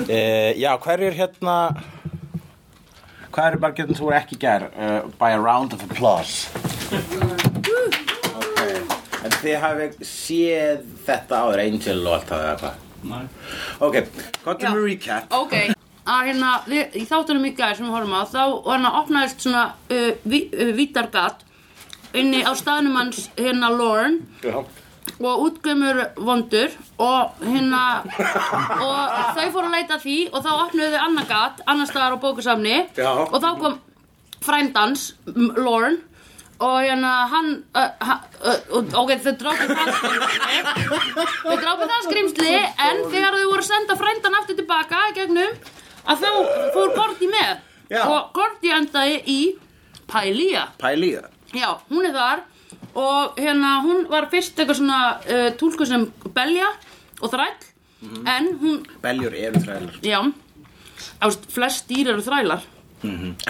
Uh, já, hverjir hérna Hvað eru margirnir sem voru ekki í gær uh, by a round of applause okay. En þið hafið séð þetta áður Angel og allt það eða hvað Nei. Ok, hvað Já. er recap? Ok, að hérna, við, í þáttunum í gæðir sem við horfum á, þá hérna opnaðist svona uh, ví, uh, vítargat inni á staðnum hans hérna Lorne Já. og útgömmur vondur og hérna og þau fóru að leita að því og þá opnuðu þau annan gat, annar staðar á bókusamni Já. og þá kom frændans, M- Lorne og hérna hann uh, ha- uh, ok, þau drápu það skrimsli þau drápu það skrimsli en þegar þau voru að senda frændan aftur tilbaka í gegnum að þá fór Gordy með Já. og Gordy endaði í Pælía Pæli í það Já, hún er þar og hérna hún var fyrst eitthvað svona uh, túlku sem belja og þræll Mhm. en hún, Beljur eru þrælar, já ást, flest dýr eru þrælar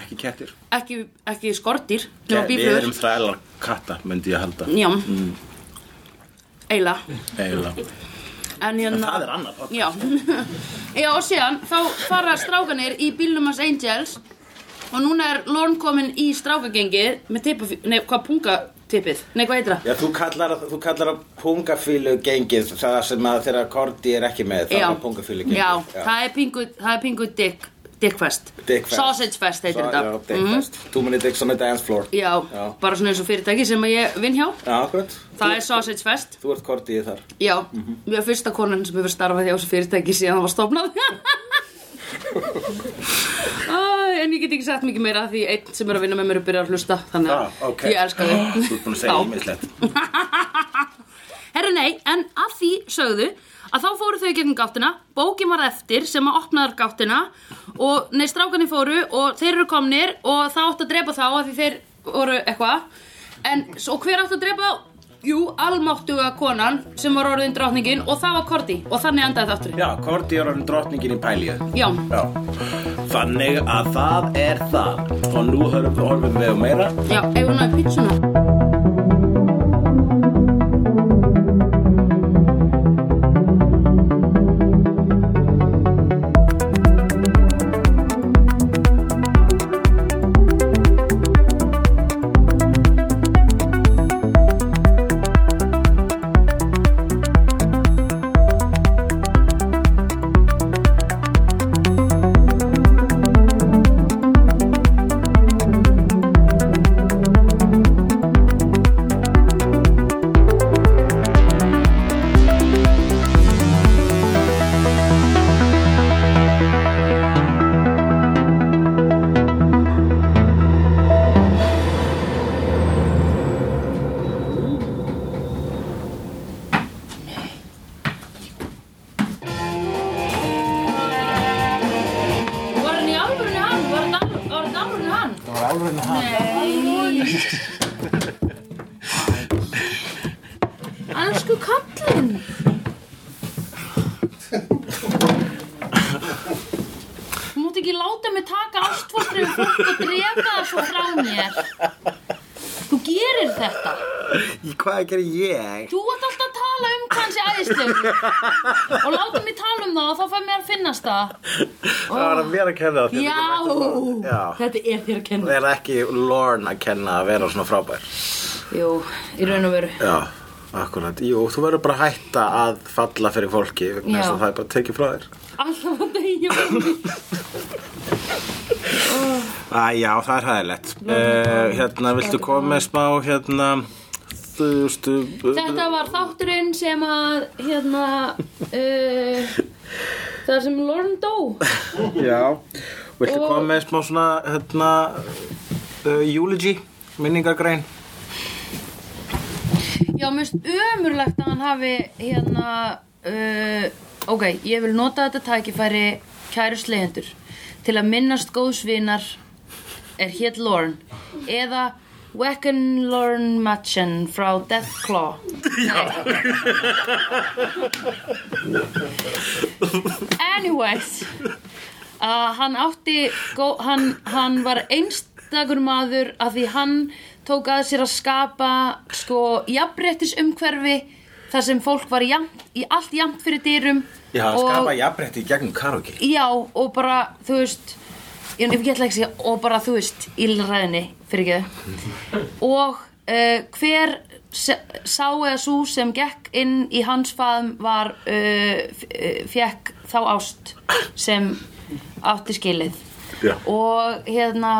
ekki kettir ekki, ekki skortýr nema Við býflugur. erum Mm. þrælar katta, myndi ég halda Já Eiginlega Eiginlega En hérna það er annað podcast. Já Já og síðan þá fara strákanir í bílnum hans Angels og núna er Lorne komin í strákagengið með tippa, nei hvað pungatipið nei hvað heitir það? Já, þú kallar, þú kallar að pungafílu gengið það sem að þeirra Korti er ekki með það Já. er pungafílu gengið Já, það er pingu, það er pingu dick, dickfest Dickfest. Sausagefest heitir Svo- Já, þetta Dickfest Two Minute Dicks on a Dance Floor Mhm. Já, Já. bara svona eins og fyrirtæki sem að ég vinn hjá Já, akkurat Það er sausagefest Þú Mhm. ert kortið þar Já, ég er fyrsta konan sem hefur starfað hjá þessu fyrirtæki síðan það var stofnað Æ, En ég get ekki sagt mikið meira því einn sem er að vinna með mér er að byrja að hlusta Þannig að Ah, ok. ég elska þau Þú ert búin að segja Já. ímislegt Herra nei, en að því sögðu að þá fóru þau í gegnum gáttina, bókin var eftir sem að opnaðar gáttina og nei, strákanir fóru og þeir eru komnir og það átti að drepa þá af því þeir voru eitthvað. En, og hver átti að drepa þá? Jú, almáttuga konan sem var orðin drátningin og það var Korti og þannig endaði þátturinn. Já, Korti er orðin drottningin í pælið Já, Já Þannig að það er það Og nú horfum horfum við á meira já, ef hún hafi pítsuna. Var hann í alvörunni hann? Var hann al- var hann í alvörunni hann? Það var alveg hann Elsku kallinn! Þú mátt ekki láta mig taka ástfóstri við fólk og drefa það svo frá mér. Þú gerir þetta. Hvað gerir ég? Þú ert alltaf að tala um hvað hans er æðislegur. Og láta mig tala um það og þá fær mér að finnast það. Það var að mér að kenna það Já, Já þetta er þér að Það kenna. er ekki Lorne að kenna að vera svona frábær Jú, í raun og veru. Já, akkurat. Jú, þú verður bara að hætta að falla fyrir fólki vegna þess Já. að það er bara að tekið frá þér. Alltaf að deyja fyrir mér. Æ, já, það er hæðilegt. Uh, hérna, viltu koma með smá, hérna, þú eh, veistu... Þetta var þátturinn sem að, hérna, uh, þar sem Lorne dó. Já, viltu Og- koma með smá svona, hérna, uh, eulogy, minningargrein? Já, mér finnst ömurlegt að hann hafi hérna uh, Ok, ég vil nota þetta tækifæri kæru slegjendur til að minnast góðsvinar er hétt Lorne eða Wecken Lorne Machen frá Deathclaw Anyways að hann átti gó, hann, hann var einstakur maður að því hann tók að sér að skapa sko jafnréttis umhverfi þar sem fólk var jamt, í allt jamt fyrir dyrum Já, og, skapa jafnrétti í gegnum karaoke já, og bara, þú veist ég, ég get ekki að segja, og bara, þú veist ílræðinni, fyrir ekki og uh, hver se, sá eða sú sem gekk inn í hans faðum var uh, fekk þá ást sem átti skilið Já. og hérna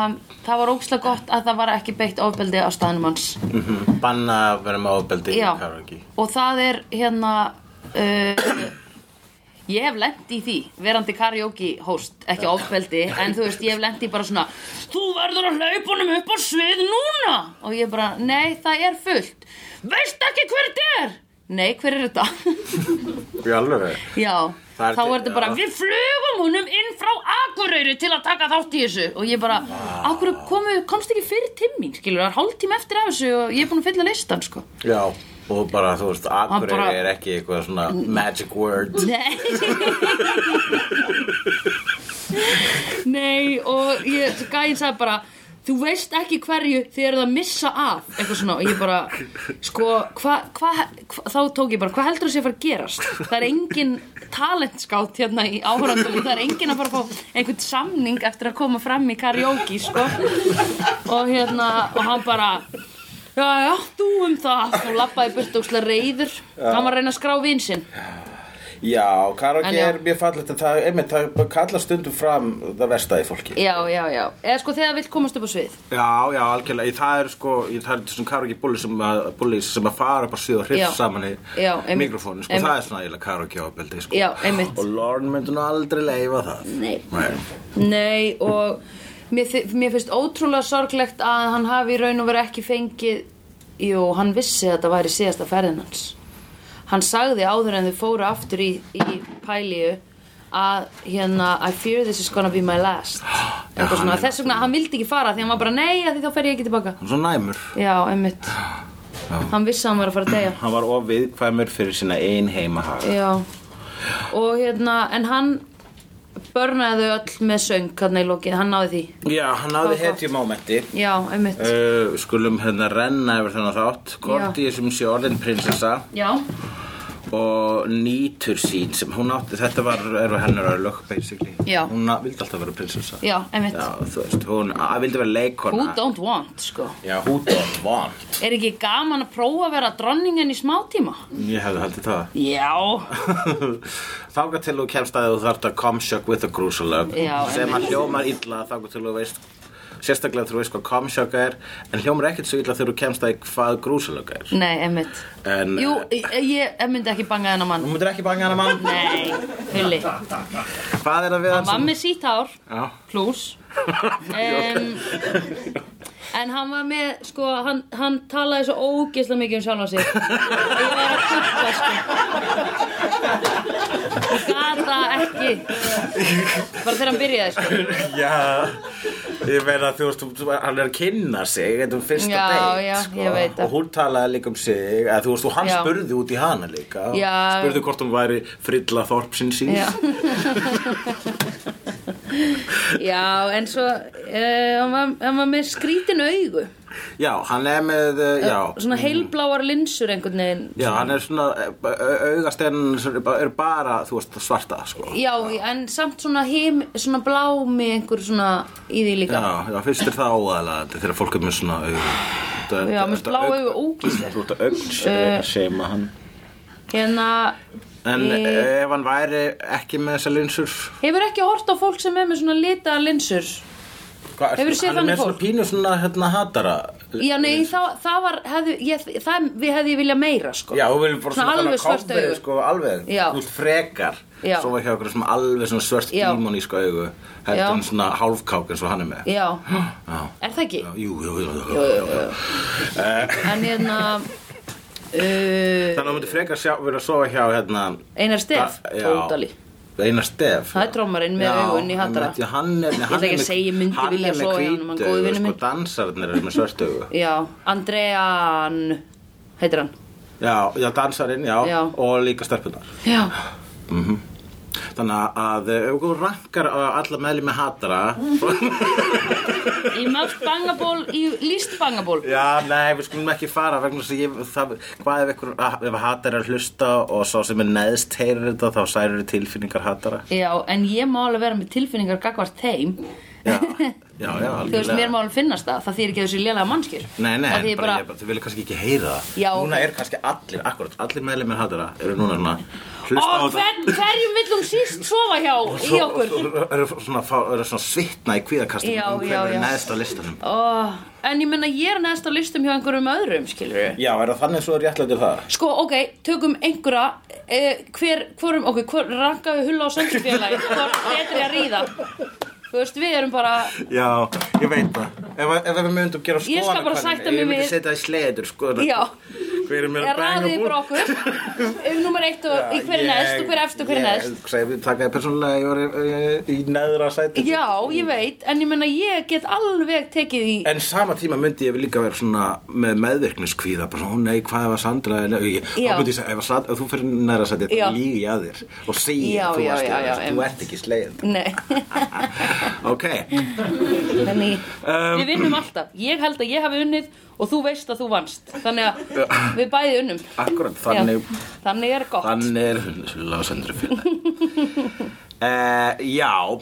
það var ógslag gott að það var ekki beitt ofbeldi á staðnum hans Banna að vera með ofbeldi í Já, karaoke og það er hérna uh, ég hef lent í því verandi karaoke host, ekki ofbeldi en þú veist, ég hef lent í bara svona þú verður að hlaupa honum upp á svið núna og ég bara, nei, það er fullt veist ekki hver þetta er nei, hver er þetta? Í alveg já, Það er þá til- er þetta bara já. við flugum honum inn frá Akureyri til að taka þátt í þessu og ég bara, akkur komu, komst ekki fyrir timmin, skilur, það er hálftíma eftir af þessu og ég er búin að fylla listan, sko Já Og bara, þú veist, Akureyri bara- er ekki eitthvað svona magic word Nei Nei og ég gæði sagði bara Þú veist ekki hverju þið eruð að missa af Eitthvað svona og ég bara Sko, hvað hva, hva, Þá tók ég bara, hvað heldur þú sé að fara að gerast? Það er engin talentskátt hérna í áhörandum Það er engin að fara að fá einhvern samning eftir að koma fram í karaoke sko. Og hérna Og hann bara Já, já, þú um það Þú labbaði burt ókslega reyður Hann var að reyna að skrá vin sinn Já, En karaoke já. er mjög fallegt en það, einmitt, það kallar stundum fram það versta í fólki Já, já, já. Eða sko þegar vill komast upp á svið. Já, já, algjörlega, Í það er sko, í það er svona karaoke búlis sem, að- bullies sem að fara upp að síða og Já. hriff saman í Já, einmitt. mikrofónu, sko, Einmitt. það er svona eiginlega karaoke ábeldi, sko Já, einmitt. Og Lorne myndi nú aldrei leifa það Nei. Nei. Nei, og mér, þi- mér finnst ótrúlega sorglegt að hann hafi í raun og verið ekki fengið, jú, hann vissi að þetta væri síðasta ferðin hans. Hann sagði áður en þau fóru aftur í, í pælíu að hérna, I fear this is gonna be my last. Já, Eitthvað hann svona, er- þess vegna, hann vildi ekki fara því hann var bara, nei, að því þá fer ég ekki tilbaka. Hann er svo næmur Já, einmitt. Hann vissi að hann var að fara að deyja. Hann var of viðkvæmur fyrir sína ein heimahag Já Og hérna, en hann börnaði þau öll með söng hérna í lokið, hann náði því Já, hann Það var náði gott. hetjumómenti Já, einmitt uh, Skulum hérna renna yfir þennan þátt Korti sem sé orðin prinsessa Já, og nýtur sín sem hún átti, þetta var, er hennar örlög basically, Já. hún að- vildi alltaf vera prinsessa já, einmitt já, þú veist, hún að, vildi vera leikona Who don't want, sko já, who don't want Er ekki gaman að prófa að vera dronningin í smátíma? ég hefði haldið það Já þáka til þú kemst að þú þarft að komsjökk with a grúsulög Já, sem að hljómar illa þáka til þú veist sérstaklega þegar þú veist hvað komsjökk er en hljómar ekkert svo illa þegar þú kemst að því hvað grúsulög er Nei, einmitt en Jú, eh, ég, ég ég myndi ekki banga þennan mann hún myndir ekki banga hana mann Nei, hulli hvað er að við Hann var með sítt hár já, plus um, en hann var með sko, hann, hann talaði svo ógeðslega mikið um sjálfan sig og ég var að kippa sko ég gata ekki bara þegar hann byrjaði sko Já, ég meina þú veist, þú- hann er að kynna sig, þetta er fyrsta Já, date, já, sko. ég veit það. Og hún talaði líka um sig, eða þú veist, og hann Já. spurði út í hana líka. Já. Spurði hvort hún væri frilla þorpsinn sín. já já, en svo uh, hann, var, hann var með skrítin augu Já, hann er með, uh, já, svona heilbláar linsur einhvern veginn já, hann er svona, eh, augastenn er bara, þú veist, svarta, sko. já, en samt svona heim, svona blá með einhver svona í því líka Já, já, fyrst er það óæðlega þegar fólk er með svona augu. Þetta- Já, þetta- með þetta blá augn- augu, Eh, ógeðslegt. Þú ert að augn seima hann. hérna En Í- ef hann væri ekki með þessa linsur, Hefur ekki hort á fólk sem er með svona lita linsur? Hva, Hefurðu Hann er séð þannig með svona fólk? pínu svona hérna hatara Já, nei, það, það var, hefðu, ég, það, við hefði vilja meira, sko. Já, hún vil bara Svona alveg svona svört kofverið augu. sko alveg Já. Þú veist frekar Já. Svo var hjá okkur sem alveg svona svört Já. dímonísk augu Já. Heldur hann svona hálfkák eins og hann er með Já, Já, er það ekki? já, jú, jú, jú, jú, jú, jú. En hérna, uh, Þannig að hún myndi frekar sjá, vera að sofa hjá hérna Einar Stef, Da- já. tótali. Einar stef Það er drómarinn með augun í hatara. einmitt, já, Hann er, nei, ætla hann ekki að segja, ég myndi vilja vilja sofa hjá honum, hann er góður vinur Sko minn. dansarnir eru með svört augu Já, Andrean, heitir hann. Já, já, dansarinn, já Já. Og líka stelpunar Já, Mhm. Þannig að eh, ef þú rankar á alla meðli með hatara Í mörg bangaból, í líst bangaból Já, nei, við skulum ekki fara vegna þess að ég, það, hvað ef, ykkur, ef hatari er að hlusta og sá sem er neðst heyrir þetta þá særir tilfinningar hatara Já, en ég má alveg vera með tilfinningar gagvart þeim Já, já, já, Þú veist, mér má alveg finnast það, það þýr ekki að þessu lélega mannskjur Nei, nei, það en þýr bara, ég bara, þau vilja kannski ekki heyra það Já, Núna ok. er kannski allir, akkurat, allir meðlumir hatara eru núna svona Hlusta Ó, hver, hverjum vill hún síst sofa hjá í okkur? Svo- Eru svona, fá- eru svona svitna í kvíðakastum Já, um já, hvernig já. er neðst á listanum Ó, en ég menna ég er neðst á listum hjá einhverjum öðrum, skilur við Já, er það þannig svo réttlega til það? Sko, ok, tökum einhverja eh, hver, hvorum, ok, hvor rankaðu hulla á söndufélagi, hvort betri að ríða Þú veist, við erum bara Já, ég veit það Ef, ef við myndum gera Ég skoðan skal bara sætta mig Ég myndi við- setja það í sleitur, sko Já. Hver er mér er að bænga raðið bara okkur um nummer eitt og í hver er neðst og hver er efst og hver er neðst Ég, segi, við takaði persónulega, ég var í, í, í neðra sæti Já, ég veit, en ég menna ég get alveg tekið í En sama tíma myndi ég líka vera svona með meðvirkniskvíða, bara svona, ó nei, hvað ef að Sandra, nei, ég, Já. þá myndi ég segja, ef, að Sandra, ef þú fyrir næra sætti, Já. þá lígi ég að þér og segi Já, að þú já, varst já, já, þér, þú einmitt. ert ekki slegin. Nei, Ok, þannig Um. Við vinnum alltaf, ég held að ég hafi unnið og þú veist að þú vannst Þannig að við bæði unnum akkurat, þannig, Já, þannig er gott þannig er hundsulega Sandra fyrir. uh, já,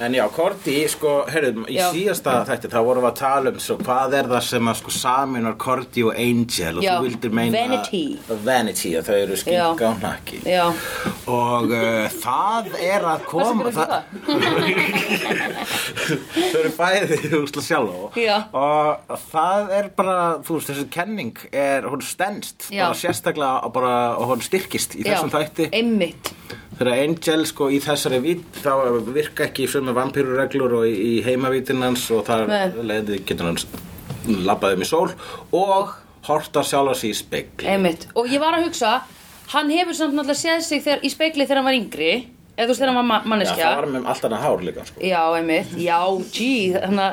en já, Korti, sko, heyrðu, í Já. síðasta þætti, þá vorum við að tala um, svo, hvað er það sem að, sko, saminar Korti og Angel og Já. þú vildir meina Vanity. Vanity, að þau eru skinka og nakki. Já, Og uh, það er að koma Varstu ekki að gera Þau eru bæði úrsla sjálf Já. Og það er bara, þú veist, þessi kenning er, hún stendst Já. bara sérstaklega og bara, og hún styrkist í já, þessum þætti einmitt Þegar Angel sko í þessari vitt þá virka ekki í sömu vampírureglur og í heimavítinn hans og þar Nei. leiði getur hans labbaði um í sól og horta sjálfa sig í spegli Einmitt. Og ég var að hugsa, hann hefur samt náttúrulega séð sig þegar, í speikli þegar hann var yngri Eða þú veist þegar hann var ma- Já, manneskja það var með um allt annað hár líka sko Já, einmitt, já, gee, þannig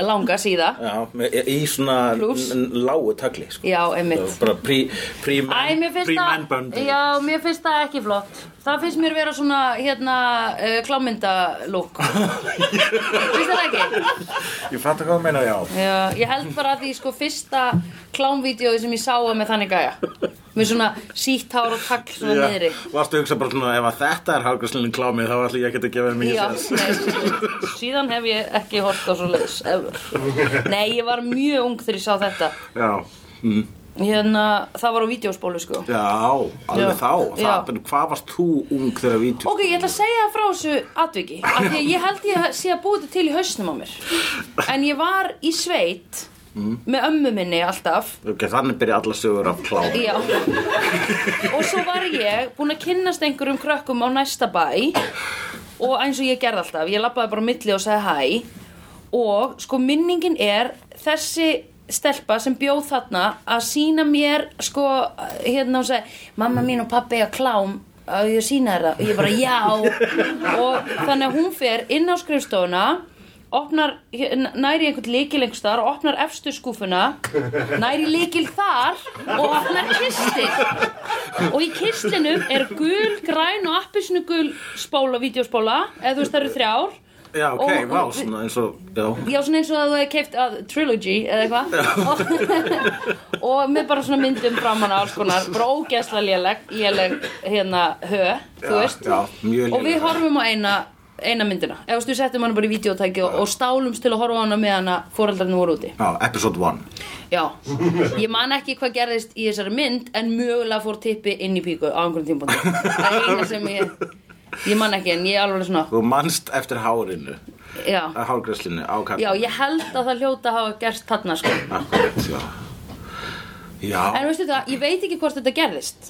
að langa síða Já, með- í svona Plús. n- lágu tagli sko. Já, Það einmitt var bara pre- Æ, mér finnst það, pre-man-böndin já, mér finnst það ekki flott Það finnst mér vera svona, hérna, uh, klámyndalúk Finnst það ekki? Ég fatt að hvað þú meina, já Já, ég held bara að því sko fyrsta klámvídeói sem ég sá var með þannig gæja með svona sítt hár og tagl svona Já, niðri Varstu að hugsa bara svona, ef að þetta er hálfgræslinni klámið þá ætla ég ekki að gefa þeim mikið Já, sens nei, síðan hef ég ekki hort á svo leiðis Nei, ég var mjög ung þegar ég sá þetta Já, mm. hérna, það var á vídeóspólu sko já, alveg Já. þá Já. það, en Hvað varst þú ung þegar við Ok, ég ætla að segja það frá þessu atviki af því að ég held ég sé að búið þetta til í hausnum á mér en ég var í sveit með ömmu minni alltaf Ok, þannig byrja alla sögur af klám Já Og svo var ég búin að kynnast einhverjum krökkum á næsta bæ Og eins og ég gerði alltaf Ég labbaði bara á milli og sagði hæ Og sko minningin er Þessi stelpa sem bjóð þarna Að sína mér sko Hérna og segi Mamma mín og pappi að klám að ég sína þér það og ég bara já og þannig að hún fer inn á skrifstofuna opnar, næri einhvern líkil einhvers þar og opnar efstu skúfuna næri líkil þar og opnar kistil og í kistinum er gul, græn og appisinu gul spóla, vídeospóla eða þú veist það eru þrjár Já, ok, Og- vá, og- svona eins og Já, Já, svona eins og að þú hefði keift að Trilogy eða eitthvað og, og með bara svona myndum framan á alls konar bara ógeðslega léleg, léleg hérna hö, þú Já, veist já, mjög og við léleg. horfum á eina, eina myndina eða þú veist, við settum hana bara í videótæki og, og stálumst til að horfa á hana með hana foreldrarnir voru úti já episode 1 Já, ég man ekki hvað gerðist í þessari mynd en mögulega fór tippi inn í píku á einhverjum tímpandi það er eina sem ég, ég man ekki en ég er alveg svona, Þú manst eftir hárinu já Hálfgræslinni á kakka Já, ég held að það hljóta að hafa gerst þarna sko Akkurat, já Já En veistu það, ég veit ekki hvort þetta gerðist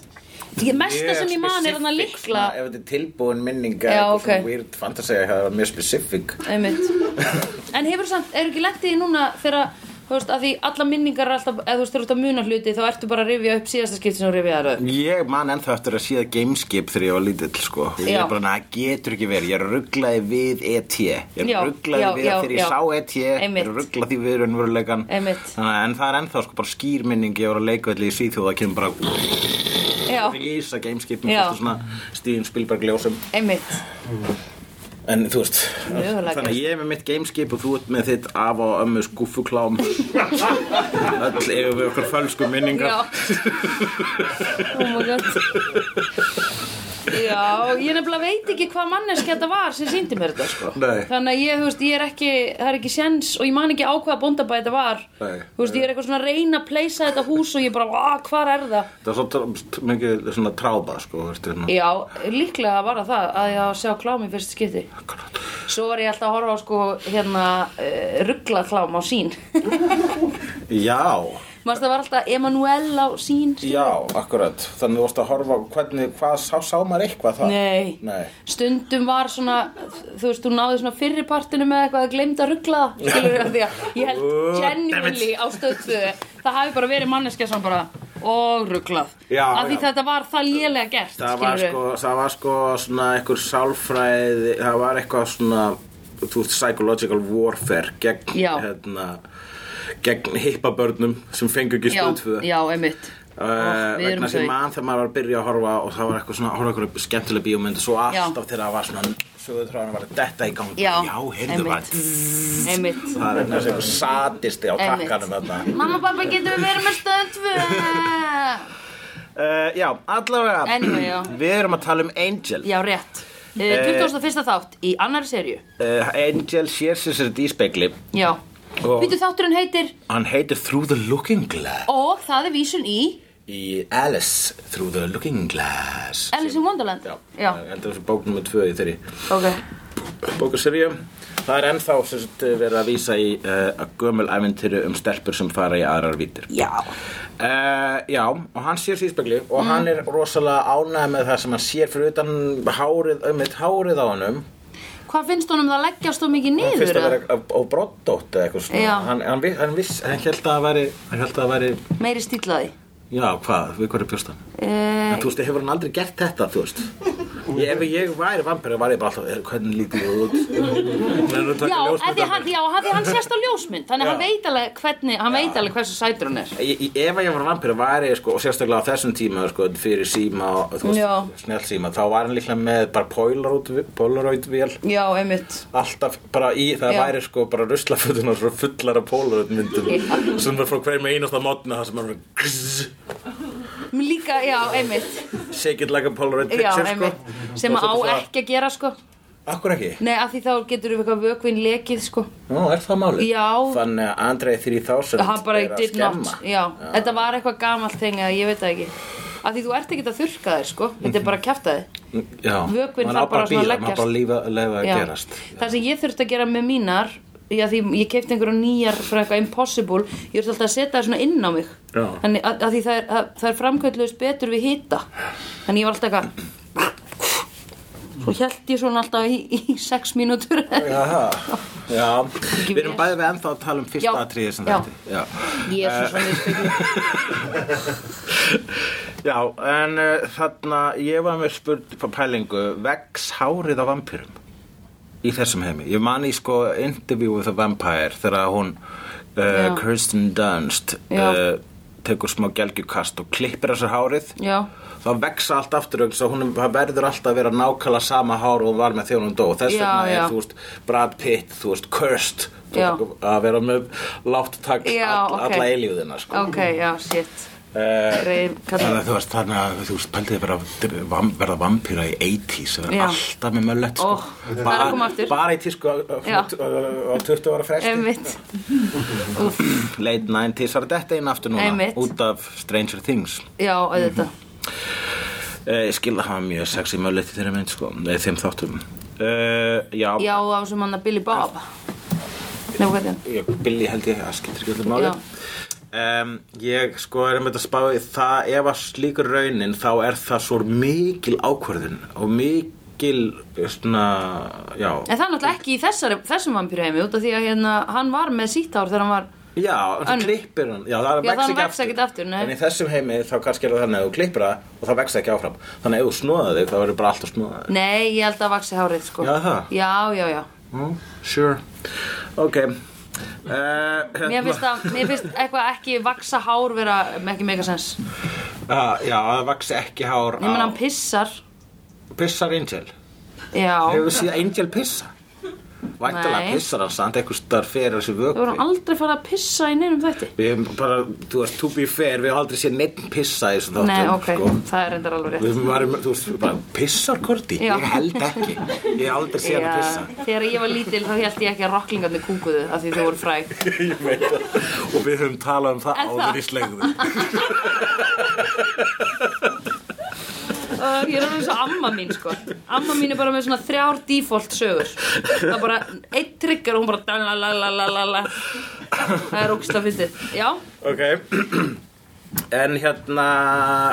Ég mesta sem ég man er hann að specific, likla svona, Ef þetta er tilbúin minninga Já, eitthvað ok. svona Weird fantasy að það var mjög specific einmitt. En hefur samt, er ekki lent í því núna þegar Þú veist, að því alla minningar er alltaf, eða þú veist, þú ert að muna hluti, þá ertu bara að rifja upp síðasta skipti sem þú rifjaði það. Ég man ennþá eftir að séð gameskip þegar ég var lítill sko og ég Já. bara, það getur ekki verið, ég rugglaði við ET ég Já, rugglaði já, við já, já, þegar já. ég sá ET Einmitt. ég rugglaði því við raunveruleikan Einmitt. Þannig að- en það er ennþá sko bara skýrminning ég var að leika allir í Svíþjóð það kemur bara Já, Já. rísa gameskip Já. með fullt af svona Steven Spielberg ljósum einmitt en þú veist, Mögulega þannig að ég er með mitt gameskip og þú ert með þitt af og ömmu skúfuklám öll yfir við okkur fölsku minningar Já Oh my god Já, ég nefnilega veit ekki hvað manneski þetta var sem síndi mér þetta sko Nei. Þannig að ég, þú veist, ég er ekki, það er ekki séns og ég man ekki á hvaða bóndabæði þetta var Nei. Þú veist, ég er eitthvað svona að reyna að pleysa þetta hús og ég bara, "Vá, hvar er það? það er svo tr- mikið svona trába sko, þú veist, hérna. Já, líklega var það það að ég á að sjá klám í fyrsta skipti Akkúrat. Svo var ég alltaf að horfa á sko, hérna, uh, rugglað klám á sín já, Manst það var alltaf Emanuel á sín já, akkurat þannig þú varst að horfa, á hvernig, hvað sá, sá maður eitthvað það? Nei. Nei. stundum var svona þú veist, þú náði svona fyrripartinu með eitthvað að glemd að ruggla skilur því að ég held Oh, genuinely á stöðstöðu það hafi bara verið manneskja sem bara og rugglað Já, að því já. þetta var það lélega gert það var, skilurðu. sko, það var sko svona einhver sálfræði það var eitthvað svona þú veist, psychological warfare gegn, Já. hérna, gegn hippabörnum sem fengu ekki stöðföðu já, já, einmitt Uh, við erum vegna sem þau. mann þegar maður var að byrja að horfa og það var eitthvað svona, horfa eitthvað skemmtilega bíómynd og svo alltaf þegar það var svona sögutráðan var detta í gangi, Já, já heyrðu var einmitt. einmitt það er vegna sem eitthvað satisti á Einmitt. takkanum þarna mamma, pappa, getum við verið með stöðstöðu uh, já, allavega Anyway, já. við erum að tala um Angel já, rétt uh, Eh. 21. þátt í annari serju uh, Angel sér sér sér í spegli já, Og- býtu þátturinn heitir Hann heitir Through the Looking Glass og það er vísun í Í Alice Through the Looking Glass Alice in Wonderland Já, Eh, já. ég held að þessu bók nummer tvö í þeirri ok bókaserju Það er ennþá sem sagt, verið að vísa í uh, að gömul æventyru um stelpur sem fara í aðrar vítir Já. Uh, já, og hann sér síðspegli og hann Mm. er rosalega ánægð með það sem hann sér fyrir utan hárið, um eitt hárið á hannum Hvað finnst honum það leggjast þó mikið Hann niður? fyrst að eða? vera á broddótt eða eitthvað Já. svona hann, hann, viss- hann, viss, hann held að það væri, hann held að það væri Meiri stílaði. Já, hvað, við hverju bjóst hann? En Uh, þú veist, hefur hann aldrei gert þetta, þú veist ég, Ef ég væri vampir, var ég bara alltaf "Eh, Hvernig lítið þú út? já, af því hann, Já, já, af því hann sérst á ljósmynd, þannig Já. hann veit alveg hvernig, hann veit alveg hversu sætur hann er. Ég, ég- ef ég var vampir var ég sko, og sérstaklega á þessum tíma sko, fyrir síma og þú Já. veist, snjálsíma þá var hann líklega með bara Polaroid- Polaroid-vél Já, einmitt. alltaf bara í, það Já. væri sko bara ruslafötun og svo fullar af Polaroid-myndum sem var frá hverjum einasta mótna það sem var grrrr, Mér líka, já, einmitt. shake it like a Polaroid Já, picture sko. einmitt. Sem Og á svo- ekki að gera, sko. Akkur ekki? Nei, af því þá getur við eitthvað vökvinn lekið, sko. Nú, er það málið? Já. Þannig að Andrei 3000 Hann bara er að did not. skemma. Já, þetta var eitthvað gamalt þeng að ég veit það ekki. Af því þú ert ekki að þurrka þér, sko. Þetta er bara að kjafta þér. Já, Vökvinn maður þarf á bara að svona að bíða, leggjast. maður bara lífa, leifa að Já. gerast Það sem ég þurfti að gera með mínar Já, því ég kefti einhverja nýjar frá eitthvað impossible, ég þurfti alltaf að setja það svona inn á mig Já. Þannig að, að því það er, að, það er framkvæmlega betur við hita Þannig ég var alltaf eitthvað Svo held ég svona alltaf í, í sex mínútur Jaha, já Ekki Við erum vel. bæði við ennþá að tala um fyrsta Já. atriði sem Já. þetta Já, Ég er svo svona í speglu já en uh, þarna ég var með spurt på pælingu vex hárið á vampirum í þessum heimi, ég man í sko Interview with a Vampire þegar hún uh, Já. Kirsten Dunst Já. uh, tekur smá gelgjukast og klippir þessu hárið Já, þá vexa allt aftur og hún það verður alltaf að vera nákvæmlega sama hár og hún var með þegar hún dó þess Já, vegna já. er þú veist Brad Pitt, þú veist Cursed þú Já. veist, að vera með látt takk Já, all, ok. alla eilíðina sko. ok, já, shit Eh, Reyn, Þannig kallar að þú veist, þannig að þú veist, pældiði bara að vam- verða vampýra í 80s, það Já. er alltaf með möllett, sko. Ó, það er að koma aftur. Bara í tísku á, Já. á, á 20 ára fresti. Einmitt, Late 90s var þetta einn aftur núna, Einmitt. út af Stranger Things. já, auðvitað Eh, Ég skil að hafa mjög sexy möllett í þeirra mynd, sko, eða þeim þáttum. Uh, já, Já, á sem hann að Billy Bob Nei, hvað er hann? ég, Billy held ég að skiptir ekki öllu máli Já. um, ég sko er með þetta spáði það ef að slíkur raunin þá er það svo mikil ákvörðun og mikil svona, já, En það er náttúrulega ekki í þessari, þessum vampýrheimi út af því að hérna, hann var með sítt ár þegar hann var já en Önnur. það klippir hann já, það vex Já, það ekki vex ekkert aftur, nei. en í þessum heimi þá kannski er það þannig að þú klippir það og það vex ekki áfram þannig að ef þú snóða þig þá verður bara alltaf snóða þig Nei, ég held að vaxi hárið sko Já, það? Já, já, já mm, sure, ok hérna. uh, Mér finnst, að, mér finnst eitthvað ekki vaxa hár vera ekki mega sens Já, Ah, já, að það vaks ekki hár Nei, menn hann pissar Pissar Angel Já, Hefur séð Angel pissa? Væntalega Nei. pissar hann samt einhvers þar fyrir þessi þú vöku voru aldrei farið að pissa í neinum þetta Við hefum bara, þú veist, to be fair Við hefum aldrei séð neitt pissa í þessum Nei, þáttum sko. ok, það er reyndar alveg rétt Við varum, þú veist, við bara pissar Korti Já. Ég held ekki Ég hef aldrei séð hann pissa Já, Þegar ég var lítil þá held ég ekki að rocklingarnir kúkuðu af því þau voru fræg Ég veit það Og við höfum talað um það Er það? áður í slegðu Uh, ég er alveg eins og amma mín sko Amma mín er bara með svona þrjár default sögur Það er bara eitt trigger og hún bara dalalalalala Það er ógst að fyndið Já, Ok En hérna,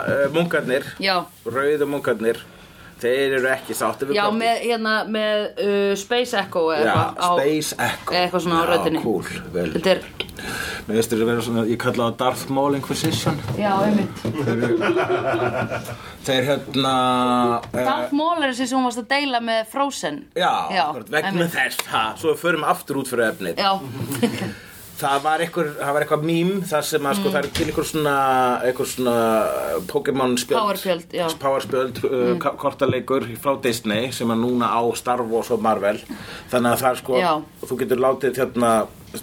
uh, munkarnir já, Rauðu munkarnir Þeir eru ekki sátti við já Korti. með, hérna, með uh, Space Echo eða Já, eitthvað á Space Echo eða eitthvað svona á Já, röddinni. cool, vel Þetta er, Mér veist þetta vera svona, ég kalla það Darth Maul Inquisition já, einmitt Þeir hérna Darth Maul er þessi sem hún varst að deila með Frozen Já, akkurat, vegna einmitt. þess ha, Svo við förum aftur út fyrir efnið Já, Það var einhver, það var eitthvað mím þar sem Mm. að sko það er til einhver svona einhver svona eh, Pokémon spjöld Powerspjöld, já. Powerspjöld, uh, mm. kortaleikur frá Disney sem er núna á Star Wars og Marvel þannig að það er sko Já. þú getur látið þérna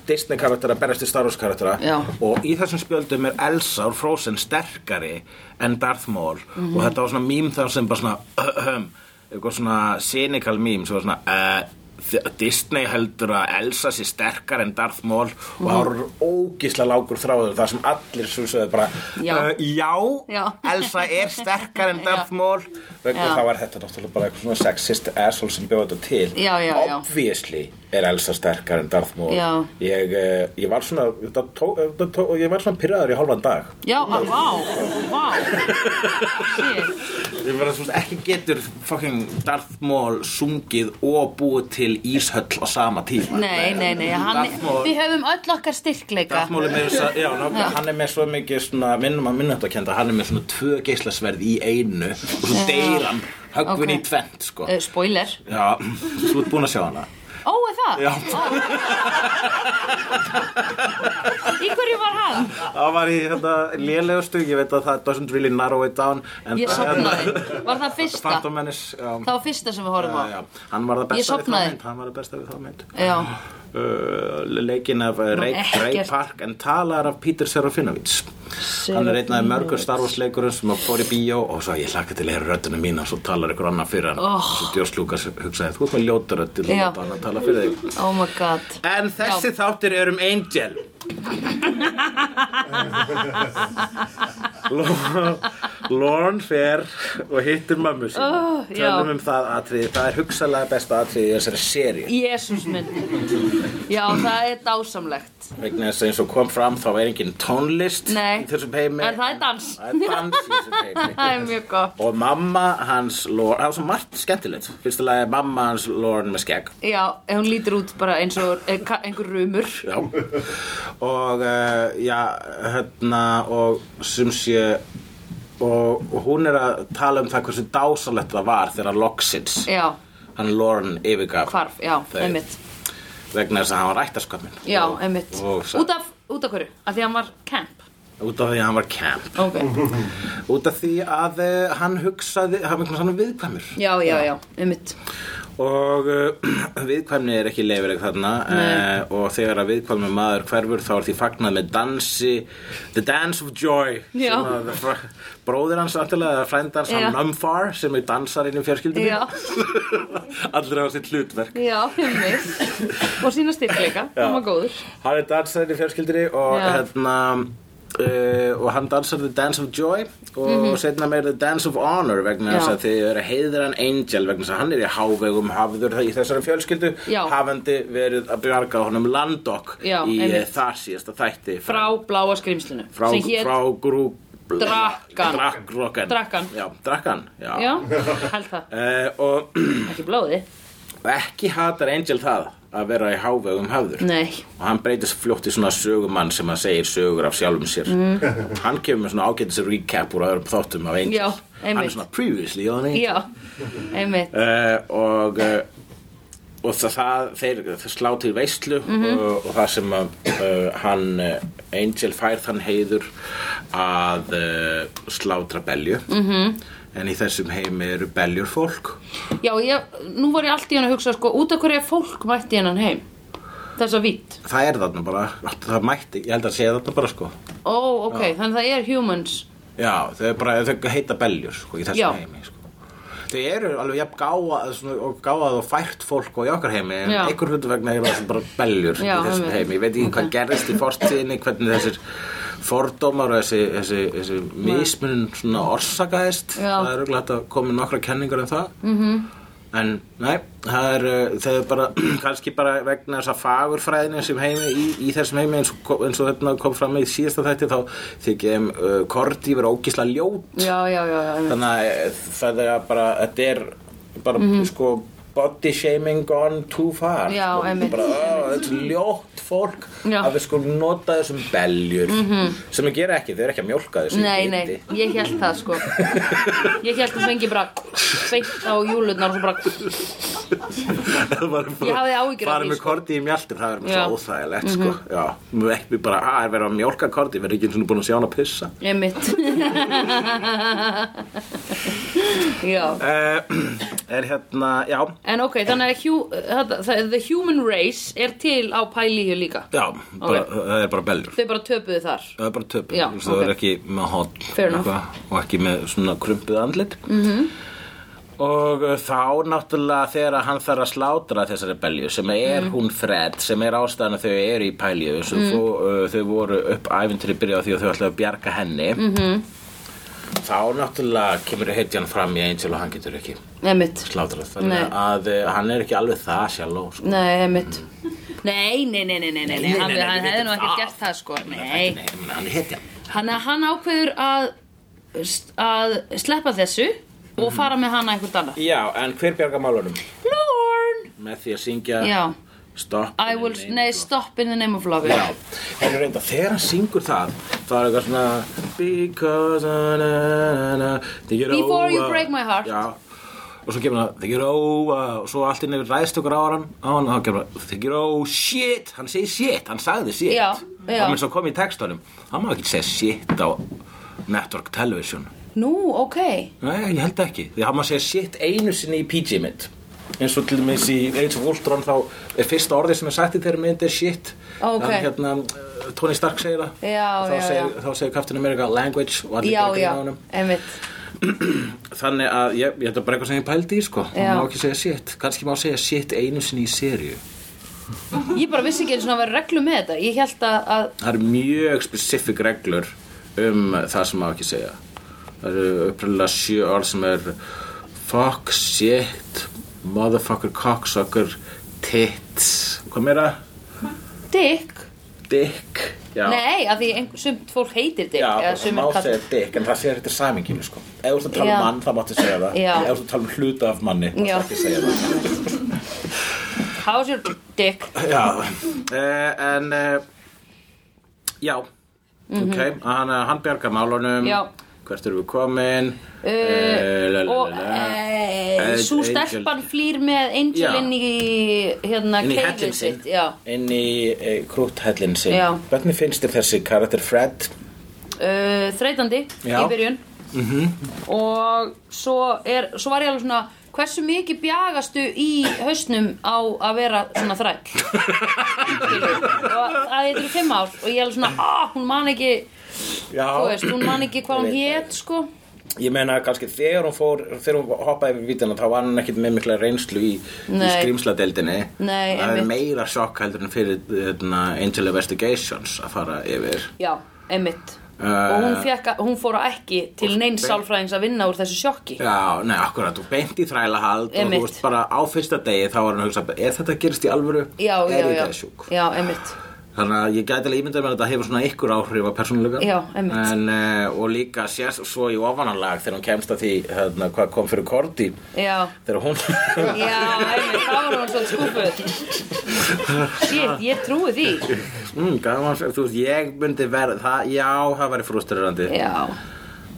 Disney karaktera berjast í Star Wars karaktera Já. og í þessum spjöldum er Elsa og Frozen sterkari en Darth Maul Mhm. og þetta var svona mím þar sem bara svona eitthvað svona cynical mím sem var svona uh, Disney heldur að Elsa sé sterkar en Darth Maul og það voru Mhm. ógisla lágur þráður þar sem allir svo sögðu bara Já. "Eh, já, Já. Elsa er sterkar en Darth Já. Maul vegna Já. þá var þetta náttúrulega bara eitthvað svona sexist asshole sem bjóða þetta til Já, já, já. obviously er Elsa sterkar en Darth Maul Já. ég, eh, ég var svona það tó, það tó, ég var svona pyrraður í hálfan dag já, að, vá, vá Shit ég var svona ekki getur fucking Darth Maul sungið og búið til íshöll á sama tíma Nei, nei, nei, hann, Darth Maul- við höfum öll okkar styrkleika Darth Maul er með þess að, já, nákvæmlega, hann er með svo mikið svona, minnum að minnum þetta að kenda, hann er með svona tvö geislasverð í einu og svo deyr hann, höggvin Ok. í tvent, sko. uh, Spoiler Já, þú ert búin að sjá hana. Ó, er það? Já. Í hverju var hann? Það var í þetta lélegustu, ég veit að það doesn't really narrow it down. en- hérna- Ég sopnaði Var það fyrsta? Phantom Menace, já. Það var fyrsta sem við horfum á Já, já, hann var það Ég besta við þá sofnaði. mynd, hann var það besta við þá mynd. Já, Uh, leikin af uh, Ray, Ray ekkert. Park en talar af Peter Serafinovits hann er einn af mörgur starfosleikurum sem að fór í bíó og svo ég hlakka til að heyra röddina mína og svo talar ykkur annar fyrir hann oh. svo Djós Lukas hugsaði þú ert með ljótarödd til að Já. láta hann að tala fyrir þig oh my god en þessi þáttir er um Angel Lor- Lorne fer og hittir mömmu sín Oh, já. tölum um það atriði það er hugsalega besta atriði í þessari seri Jésús minn Já, það er dásamlegt vegna þess að eins og kom fram þá er engin tónlist Nei. í þessum heimi En það er dans. það er dans í þessum heimi Það er mjög gott og mamma hans Lorne, það var svo margt skemmtilegt fyrsta lagi er mamma hans Lorne með skegg Já, ef hún lítur út bara eins og eh, ka- einhver rumur já og uh, já hérna og sem sé og hún er að tala um það hversu dásalegt það var þegar loksins Já, hann Lorne yfirgaf hvarf, já, Þeir- einmitt vegna þess að hann var rættaskömmin Já, einmitt og, og, Út af, út af hverju? Af því hann var camp út af því að hann var camp Ok, út af því að uh, hann hugsaði hann var einhvern svona viðkvæmur já, já, já, einmitt og uh, viðkvæmni er ekki leifileg þarna uh, og þegar að viðkvæmni maður hverfur þá er því fagnað með dansi The Dance of Joy Já. sem að fr- bróðir hans afturlega eða frændans Já. hann Numfar sem er dansarinn í fjörskildinni Já. allir á sitt hlutverk Já, einmitt Og sína styrkleika, hann var góður hann er dansarinn í fjörskildinni og Já. hérna Uh, og hann dansar The Dance of Joy og mm setna meir The Dance of Honor vegna Mhm. Já. þess að þið eru að heiðra hann Angel vegna þess að hann er í hávegum hafður í þessari fjölskyldu Já. hafandi verið að bjarga honum Landok Já, í einmitt. þar síðasta þætti Frá bláa skrimslinu frá, sem hét frá grú Drakkan. Drakkan Drakkan. Já, Drakkan já. Já, held það, Eh, og ekki blóði ekki hatar Angel það að vera í hávegum hafður Nei, og hann breytist fljótt í svona sögumann sem að segir sögur af sjálfum sér hann kemur með svona ágætis recap úr öðrum þáttum af Angel Já, hann er einmitt. svona previously on Angel já, einmitt uh, og uh, Eh, og það, það þeir, þeir slá til veislu og, og það sem að uh, hann uh, Angel fær þann heiður að uh, slátra belju -hmm. en í þessum heimi eru beljur fólk Já, ég, nú var ég allt í hann að hugsa sko, út af hverju fólk mætti hennan heim þessa vitt það er þarna bara, það mætti ég held að segja þarna bara sko ó, ok, þannig það er humans já, þau, er bara, þau heita beljur sko, í þessum Já. heimi sko. þau eru alveg jafn gáað, svona, og gáað og fært fólk og í okkar heimi en Já. einhver hlutu vegna eru það bara beljur Já, í þessum einmitt. heimi, ég veit ekki hvað gerðist í fortíðinni hvernig þessir fordómar og þessi, þessi, þessi mismunum svona orsakaðist Já. það er auðvitað að koma nokkra kenningar en það mm -hmm. en nei, það er uh, þau eru bara, kannski bara vegna þess að fagurfræðinu sem heimi í, í þessum heimi eins og, eins og þetta kom fram í síðasta þætti þá þykja þeim uh, korti verið ógisla ljót Já, já, já, já einmitt. þannig að eh, það er bara þetta er bara sko body shaming gone too far Mhm. Já, sko. einmitt. bara, ó, þetta er ljótt fólk Já. Mhm. að við skulum nota þessum beljur sem við gera ekki, þau eru ekki að mjólka þessum Nei, nei, ég held það sko Ég held það fengi bara Feitt á júlutnar og svo bara Ég hafði áhyggjur af bara því, með sko. korti í mjaltir það er með Já. Mhm. svo óþægilegt sko. já, við ekki bara, að er verið að mjólka korti við erum ekki eins og búin að sjá hann að pissa Ég Já uh, er hérna, já En ok, þannig að hu- þetta- það- The Human Race er til á pælíu líka já, bara, það er bara beljur Þau bara töpuðu þar það er bara töpu, Já, það ok. er ekki með hot Fair enough. Mhm. og ekki með svona krumpið andlit -hmm. og uh, þá náttúrulega þegar að hann þarf að slátra þessari belju sem er Mhm. hún Fred sem er ástæðan að þau eru í pælju mm. fó, uh, þau voru upp æfintri byrja á því að þau ætlaðu að bjarga henni -hmm. Mhm. þá náttúrulega kemur heitjan fram í Angel og hann getur ekki Einmitt slátrað þannig Nei. að uh, hann er ekki alveg það sjálf sko. Nei, einmitt Nei, nei, nei, nei, nei, nei, nei, nei, hann, nei, við hann hefði vitum nú ekki það. gert það sko Nei, Nei, ég meina, hann er heitjan hann, hann ákveður að, að sleppa þessu Mhm. og fara með hana einhvern annan já, en hver bjarga málunum? Lorne með því að syngja Já. Stop I will, nei, stop in the name of love Já, en reynda, þegar hann syngur það þá er eitthvað svona Because na, na, na, na, they get Before you over- break my heart. Já, og svo kemur hann They get over, og svo allt inn yfir ræðst okkur á hann á hann, og þá kemur hann They get over, Oh, shit, hann segir shit, hann sagði shit Já, já. Og minn svo kom í textunum Hann má ekki segja shit á Network Television Nú, ok Nei, ég held ekki, því hann má segja shit einu sinni í PG-mynd eins og til dæmis í Age of Ultron þá er fyrsta orðið sem er sagt í þeirri mynd er shit Ó, ok. Þannig hérna, uh, Tony Stark segir það Já, Og þá já, segir, já þá segir Captain America language og allir Já, gera já, grín að honum. einmitt þannig að ég, ég þetta er bara eitthvað sem ég pældi í sko Já. hann má ekki segja shit, kannski má segja shit einu sinni í seríu Ég bara vissi ekki eins og að vera reglu með þetta Ég held að, að það eru mjög specific reglur um það sem má ekki segja það eru upprænlega sjö orð sem er fuck, shit motherfucker, cocksucker tits, hvað meira? dick dick, já Nei, að því ein- sumt fólk heitir dick Já, eða það sumir má kall- segja dick, en það segir þetta saminginu sko. Ef þú ert að tala Já. um mann, þá máttu segja það Já. Ef þú ert að tala um hluta af manni, þá Já. máttu ekki segja það How's your dick? Já, uh, en uh, já, ok, hann, eh, hann bjargar málunum, Mhm. Já. hvert erum við komin, Uh, og Eh, uh, svo Angel- stelpan flýr með Angel Já. inn í hérna inn í keilið hellin sinn, sitt, já. inn í uh, krúthellin sinn. Já. Hvernig finnst þér þessi karakter Fred? uh, þreytandi Já. Mhm. í byrjun og svo, er, svo var ég alveg svona hversu mikið bjagastu í hausnum á að vera svona þræll Skilur. og að þetta eru fimm ár og ég er alveg svona, ah, hún man ekki þú veist, hún man ekki hvað Ég hún veit það. hét sko Ég meina kannski þegar hún fór, þegar hún hoppaði yfir vítina þá var hann ekkit með mikla reynslu í, í Nei. skrýmsladeildinni. Nei, Það er einmitt. meira sjokk heldur en fyrir hérna, Angel Investigations að fara yfir. já, einmitt Eh. og hún, fekk, að- hún fór ekki til neins beint- sálfræðings að vinna úr þessu sjokki Já, nei, akkurat, þú beint í þrælahald og þú Einmitt. veist bara á fyrsta degi þá var hann að hugsa, er þetta gerist í alvöru? já, er já, ég já, það sjúk? já, einmitt Þannig að ég gæti alveg ímyndað mér að þetta hefur svona ykkur áhrif að persónuleika. Já, einmitt. En, uh, og líka sér svo í ofananlag þegar hún kemst að því hérna, hvað kom fyrir Korti já, þegar hún... já, einmitt, þá var hún svona skúfuð shit, ég trúi því mm, gaman, þú veist, ég myndi verð, það, já, það væri frústururandi. Já,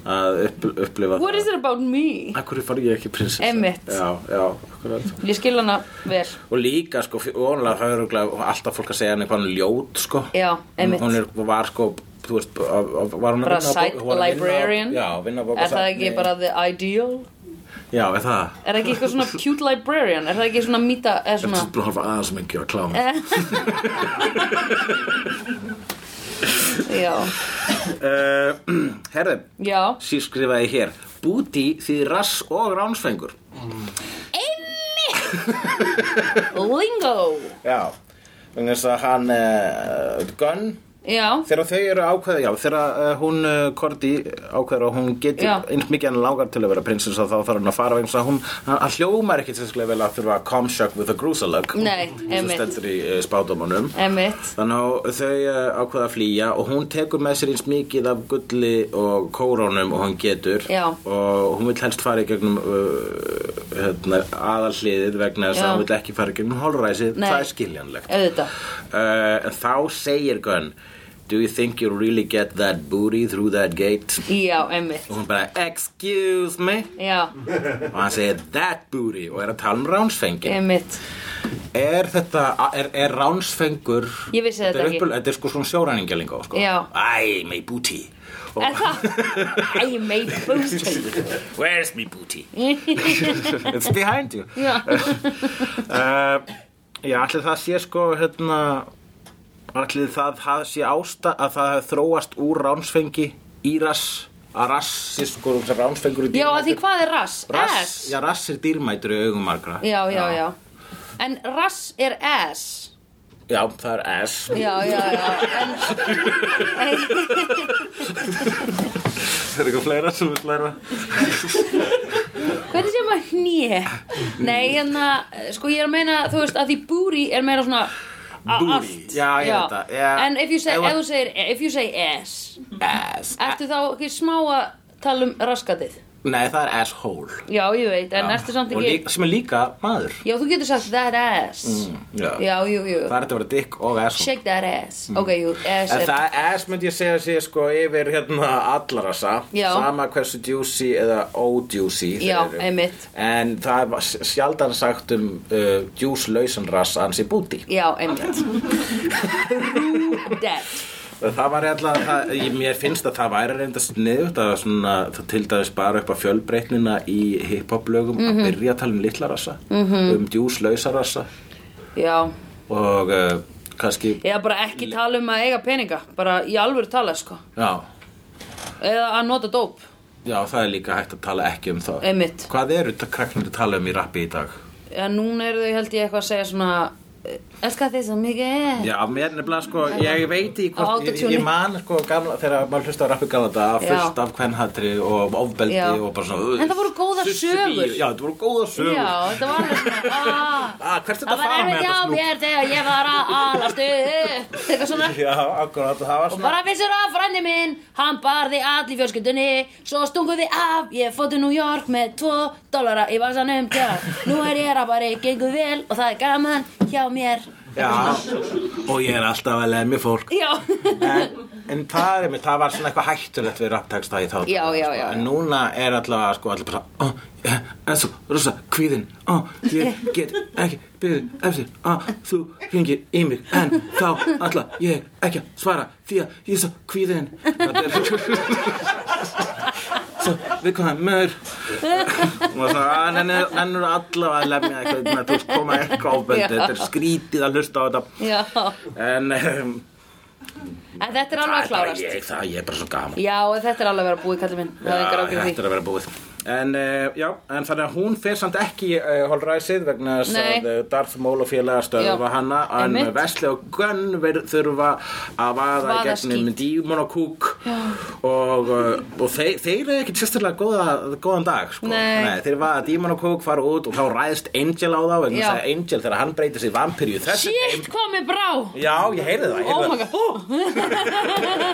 að upp, upplifa What is it about me? Akkur far ég ekki prinsessa Einmitt. Já, já, akkurat Ég skil hana vel Og líka, sko, vonlega það er örugglega alltaf fólk að segja henni hvað hún er ljót, sko Já, einmitt. Hún er, var, sko, þú veist, að- að- var hún að vinna Bara á bók- side hún var að vinna á- librarian Já, vinna á Er það ekki bókasafni. bara the ideal? Já, er það Er það ekki eitthvað svona cute librarian? Er það ekki svona mýta eða Þetta svona Eh. er bara að horfa aðeins mikið á klám Já, uh, Herðu, já síð skrifaði hér Búti því rass og ránsfengur Lingo Já, þannig að hann uh, Gunn Já, Þegar þau eru ákveða, já, þegar uh, hún uh, Korti ákveður og hún getur Já. eins mikið hann langar til að vera prinsessa þá þarf hann að fara eins og hún, hann hann hljómar ekki sérstaklega vel að þurfa að komsjökk with a grúsalögg Nei, sem einmitt. stendur í uh, spátumunum emitt Þannig að þau uh, ákveða að flýja og hún tekur með sér eins mikið af gulli og kórónum og hún getur Já. og hún vil helst fara í gegnum uh, hérna, aðalhliðið vegna þess Já. að hún vil ekki fara í gegnum holræsið, Nei. það er skiljanlegt Auðvitað uh, en þá segir Gunn Do you think you really get that booty through that gate? Já, emitt Og hún bara, excuse me Já, Og hann segir, that booty Og er að tala um ránsfengi emitt Er þetta, er, er ránsfengur Ég vissi þetta er ekki. uppul- Þetta er sko svona sjóræningjalingó sko. Já. Æ, my booty og, Er það? I made booty Where's my booty? It's behind you Já, uh, Já, allir það sé sko hérna allir það, það sé ásta að það hafi þróast úr ránsfengi í rass að rass sé sko sem ránsfengur er já að því dýrmætur. hvað er rass? rass, Ass já, rass er dýrmætur í augum margra Já, já, já En rass er ass Já, það er ass Já, já, já En Það er eitthvað fleira sem við læra hvernig sem að hnýja? Nei, en að, sko ég er að meina, þú veist, að því búri er meira svona a- Booty. allt Já, ég veit það, já. En if you say, Ef að- ef þú segir, if you say ass Ass Ertu þá ekki smá að tala um raskatið? Nei, það er asshole Já, ég veit, en Já. ertu samt Og ekki líka, Mm. sem er líka maður Já, þú getur sagt that ass Já, Já, jú, jú Það er þetta að vera dick og asshole Shake that ass Ok, jú, ass En er það ass myndi ég segja sé sko yfir hérna allarasa Já. Sama hversu juicy eða ójuicy þeir Já, eru. einmitt. En það var s- sjaldan sagt um uh, juice-lausan rass hans í búti Já, einmitt True that Það var alltaf, það, ég, mér finnst að það væri reynda sniðut að svona, það til dæmis bara upp á fjölbreytnina í hip-hop lögum Mhm. að byrja að tala um litlarassa -hmm. um juice-lausarassa Já, og uh, kannski, eða bara ekki tala um að eiga peninga Bara í alvöru tala, sko já, Eða að nota dóp já, það er líka hægt að tala ekki um það Einmitt. Hvað eru þetta krakknir að tala um í rappi í dag? Eða núna eru þau held ég eitthvað að segja svona eh, Elska þið svo mikið Já, mér nefnilega sko, ég veit í Á hvort, ég, autotune. ég man sko gamla, þegar maður hlusta á rappi gamla dag Já. fullt af kvenhatri og ofbeldi Já. og bara svona En það voru góðar Sussuvír. sögur. Já, það voru góða sögur Já, þetta var alveg svona ah, Ah, hvert er þetta Það að var fara með erfitt þetta hjá snúk? mér þegar ég var að alast upp Eitthvað svona Já, akkurat, það var Og svona bara vissur að frændi minn, hann barði allir fjölskyldunni Svo stunguði af, ég fóttu New York með 2 dollara í vasanum tjá Nú er ég rabari, gengur vel og það er gaman hjá mér Já, og ég er alltaf að lemja fólk Já, En, en það, er, einmitt- það var svona eitthvað hættulegt við rappteksta í þá Já, já, já, já. En núna er allavega sko allir bara Ó, eh, en svo, rosa, kvíðin Ó, ég get ekki byrðið eftir að þú ringir í mig En þá ætla ég ekki að svara Því að ég er svo kvíðin Þetta er Svo, við komum meður Og svona, að nennir, nennir allavega að lemja eitthvað með að þú veist, koma eitthvað ábeldi Já. Þetta er skrítið að hlusta á þetta já En En um, þetta er alveg að bara klárast ég, það, ég er bara svo gaman Já, en þetta er alveg að vera búið, kallar minn Það er engar ákveð þetta því er að vera búið En, uh, já, en þannig að hún fer samt ekki í uh, holræsið vegna þess Nei. að uh, Darth Maul og félaga stöðva Já, hana en einmitt. Vesli og Gunn verð, þurfa að vaða í Vaða gegnum skít. dímon og kúk og, uh, og þeir, þeir eru ekkert sérstaklega góða, góðan dag sko. Nei. þeir vaða dímon og kúk fara út og þá ræðist Angel á þá vegna Já. þess að Angel þegar hann breytir sér í vampirju þessi Shit, komið brá Já, ég heyrði það, ég heyrði Oh það. my god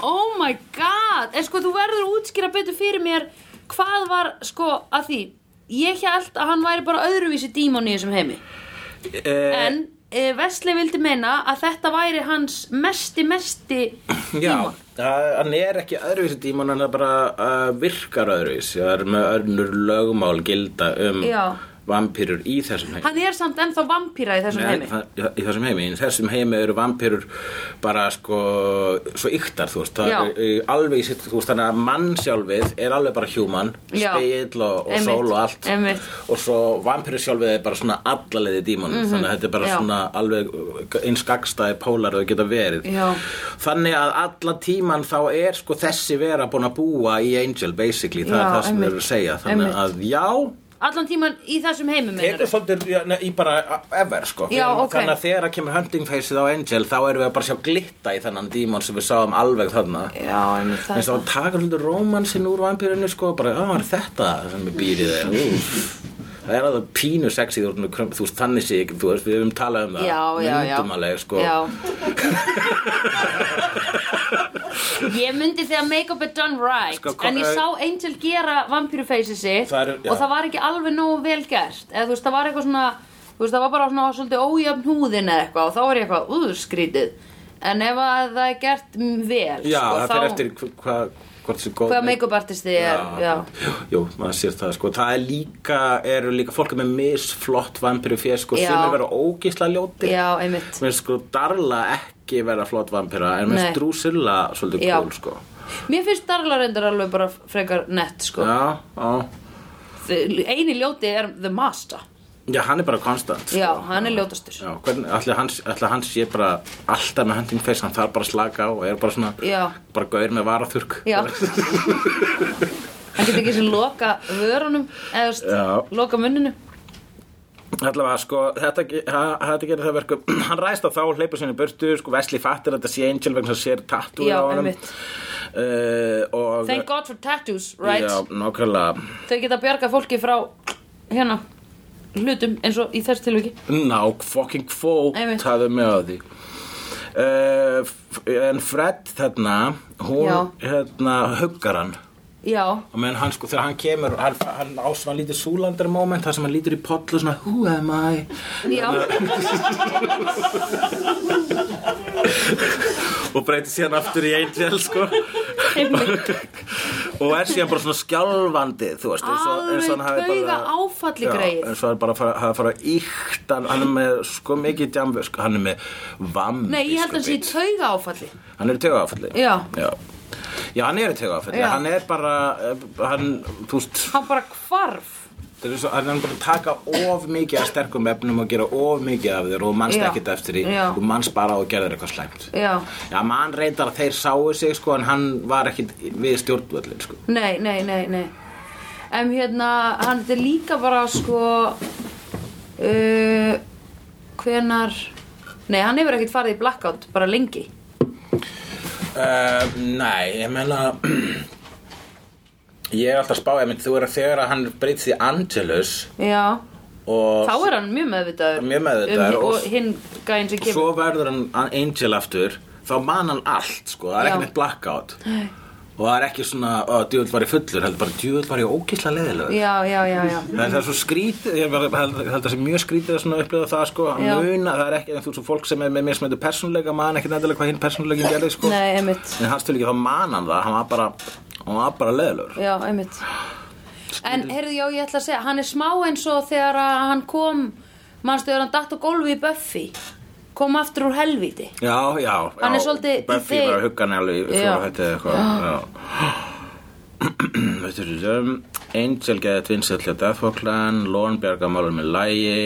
Oh my god En sko þú verður að útskýra betur fyrir mér Hvað var sko að því Ég held að hann væri bara öðruvísi dímon í þessum heimi Eh, En e, Vesli vildi meina að þetta væri hans mesti mesti Já, dímon að hann er ekki öðruvísi dímon hann er bara uh, virkar öðruvísi og er með önnur lögmál gilda um Já. vampýrur í þessum heimi Hann er samt ennþá vampíra í þessum Nei, heimi það- í í þessum heimi, í þessum heimi eru vampýrur bara sko svo yktar, þú veist, það Já. er í- alveg í sitt, þú veist, þannig að mann sjálfið er alveg bara human, Já. speill og, og Einmitt, sól og allt einmitt. og svo vampýru sjálfið er bara svona allaleiði dímonum, þannig að þetta er bara Mhm, Já. svona alveg eins gagstaði pólar og þau geta verið Já. þannig að alla tíman þá er sko þessi vera búin að búa í Angel basically, það Já, er það sem einmitt. við erum að segja þannig Einmitt. að já, Allan tíman í þessum heimi tekur meinar svolítið já, nei, í bara a- ever sko Já, Þegar- ok. þannig að þegar að kemur hunting faceið á Angel þá erum við að bara sjá glitta í þannan dímon sem við sáum alveg þarna Já, einmitt Eh, það eins og að taka svolítið rómansinn úr vampirinu sko bara, að var þetta sem við býrið er það er að það pínu sexy þú, þú, þú veist þannig sé ekki, þú veist við höfum talað um það Já, já, já myndum alveg sko Já Ég myndi þegar make-up er done right Sko, kom- En ég sá Angel gera vampírufeysi sitt Það er- já. Og það var ekki alveg nógu vel gert Eða þú veist, það var eitthvað svona Þú veist, það var bara svona svolítið ójöfn húðin eða eitthvað Og þá var ég eitthvað, úður skrítið En ef að það er gert mm, vel Já, sko, það þá- fyrir eftir hva- hvað hvort þessi góð Hvaða make-up artisti er, já. Jú, maður sér það sko Það er líka, eru líka fólk er með misflott vampiru fér sko Já. sem er vera ógísla ljóti Já, einmitt. Mér finnst sko Darla ekki vera flott vampira en mér Nei. finnst Drusilla svolítið Já. cool sko Mér finnst Darla reyndar alveg bara frekar nett sko. Já, já Þe- Eini ljóti er The Master Já, hann er bara konstant sko. Já, hann er ljótastur. Já, hvernig, ætli hans, ætli hans sé bara alltaf með hunting face, hann þarf bara að slaka á og er bara svona, Já. bara gaur með varaþurk Já Hann getur ekki sem loka vörunum eða þú Já. veist, loka munninu Allavega, sko, þetta, ge- ha- þetta gerir það verkum Hann ræðst á þá, hleypur sinni í burtu Sko, Vesli fattir að þetta sé Angel vegna þess að sér tattoo Já, á honum einmitt. uh, og, Thank God for tattoos, right? Já, nákvæmlega Þau geta bjargað fólki frá hérna hlutum eins og í þess tilviki Ná, fucking kvó Einmitt. Það er með á því uh, En Fred, þarna Hún, Já. hérna, huggar hann Já, og menn hann sko þegar hann kemur hann, hann á svona lítið súlandar moment þar sem hann lítur í poll og svona who am I já, og breytir síðan aftur í Angel sko einmitt og er síðan bara svona skjálfandi þú veist, eins og, eins og hann hafi Alveg bara tauga áfalli Já, greið. eins og hann bara fara, hafi fara íkt hann, hann er með sko mikið djam sko, hann er með vamm Nei, ég held að hann sé í sko, tauga áfalli bit. hann er í taugafalli Já. já Já, hann er í taugafalli, Já. hann er bara, eh, hann, þú veist, Hann bara hvarf það er svo, hann er bara að taka of mikið af sterkum efnum og gera of mikið af þér og þú manst Já. ekkert eftir því, Já. þú manst bara á að gera þér eitthvað slæmt. Já, Já, mann reyndar að þeir sáu sig, sko, en hann var ekkit við stjórnvöldin, sko. nei, nei, nei, nei En hérna, hann þetta er líka bara sko uh, Hvenar Nei, hann hefur ekkert farið í blackout bara lengi Uh, nei, ég meina Ég er alltaf að spá ég mynd, þú er að þegar að hann breytst í Angelus Já, og þá er hann mjög meðvitaður Mjög meðvitaður um, og- Og hinn gæinn sem kemur svo verður hann an- Angel aftur þá man hann allt, sko, það er Já. ekki neitt blackout nei. og það er ekki svona að djöðl var ég fullur, heldur bara djöðl var ég ókísla leðilega Já, já, já, já Það er það er svo skrítið, ég var- held held að það sé mjög skrítið að svona upplifa það sko, að Já. muna, það er ekki, þú svo fólk sem er með mér sem heitur persónuleika, man ekki nættilega hvað hinn persónuleikin gerði sko, Nei, einmitt en hans til ekki þá man hann það, hann var bara, hann var bara leðilegur. Já, einmitt En heyrðu, já, ég ætla að segja Hann er smá eins og þegar að hann kom Manstu, þegar hann datt á gólfi í Buffy Kom aftur úr helvíti Já, já, Hann já, er svolítið í Buffy þeim- var að hugga hann alveg í Já. fjóra hætti eða eitthvað já. Veitur þú, um, Angel geði tvinsett hljá Deathwalkland, Lorne bjarga málum með lægi,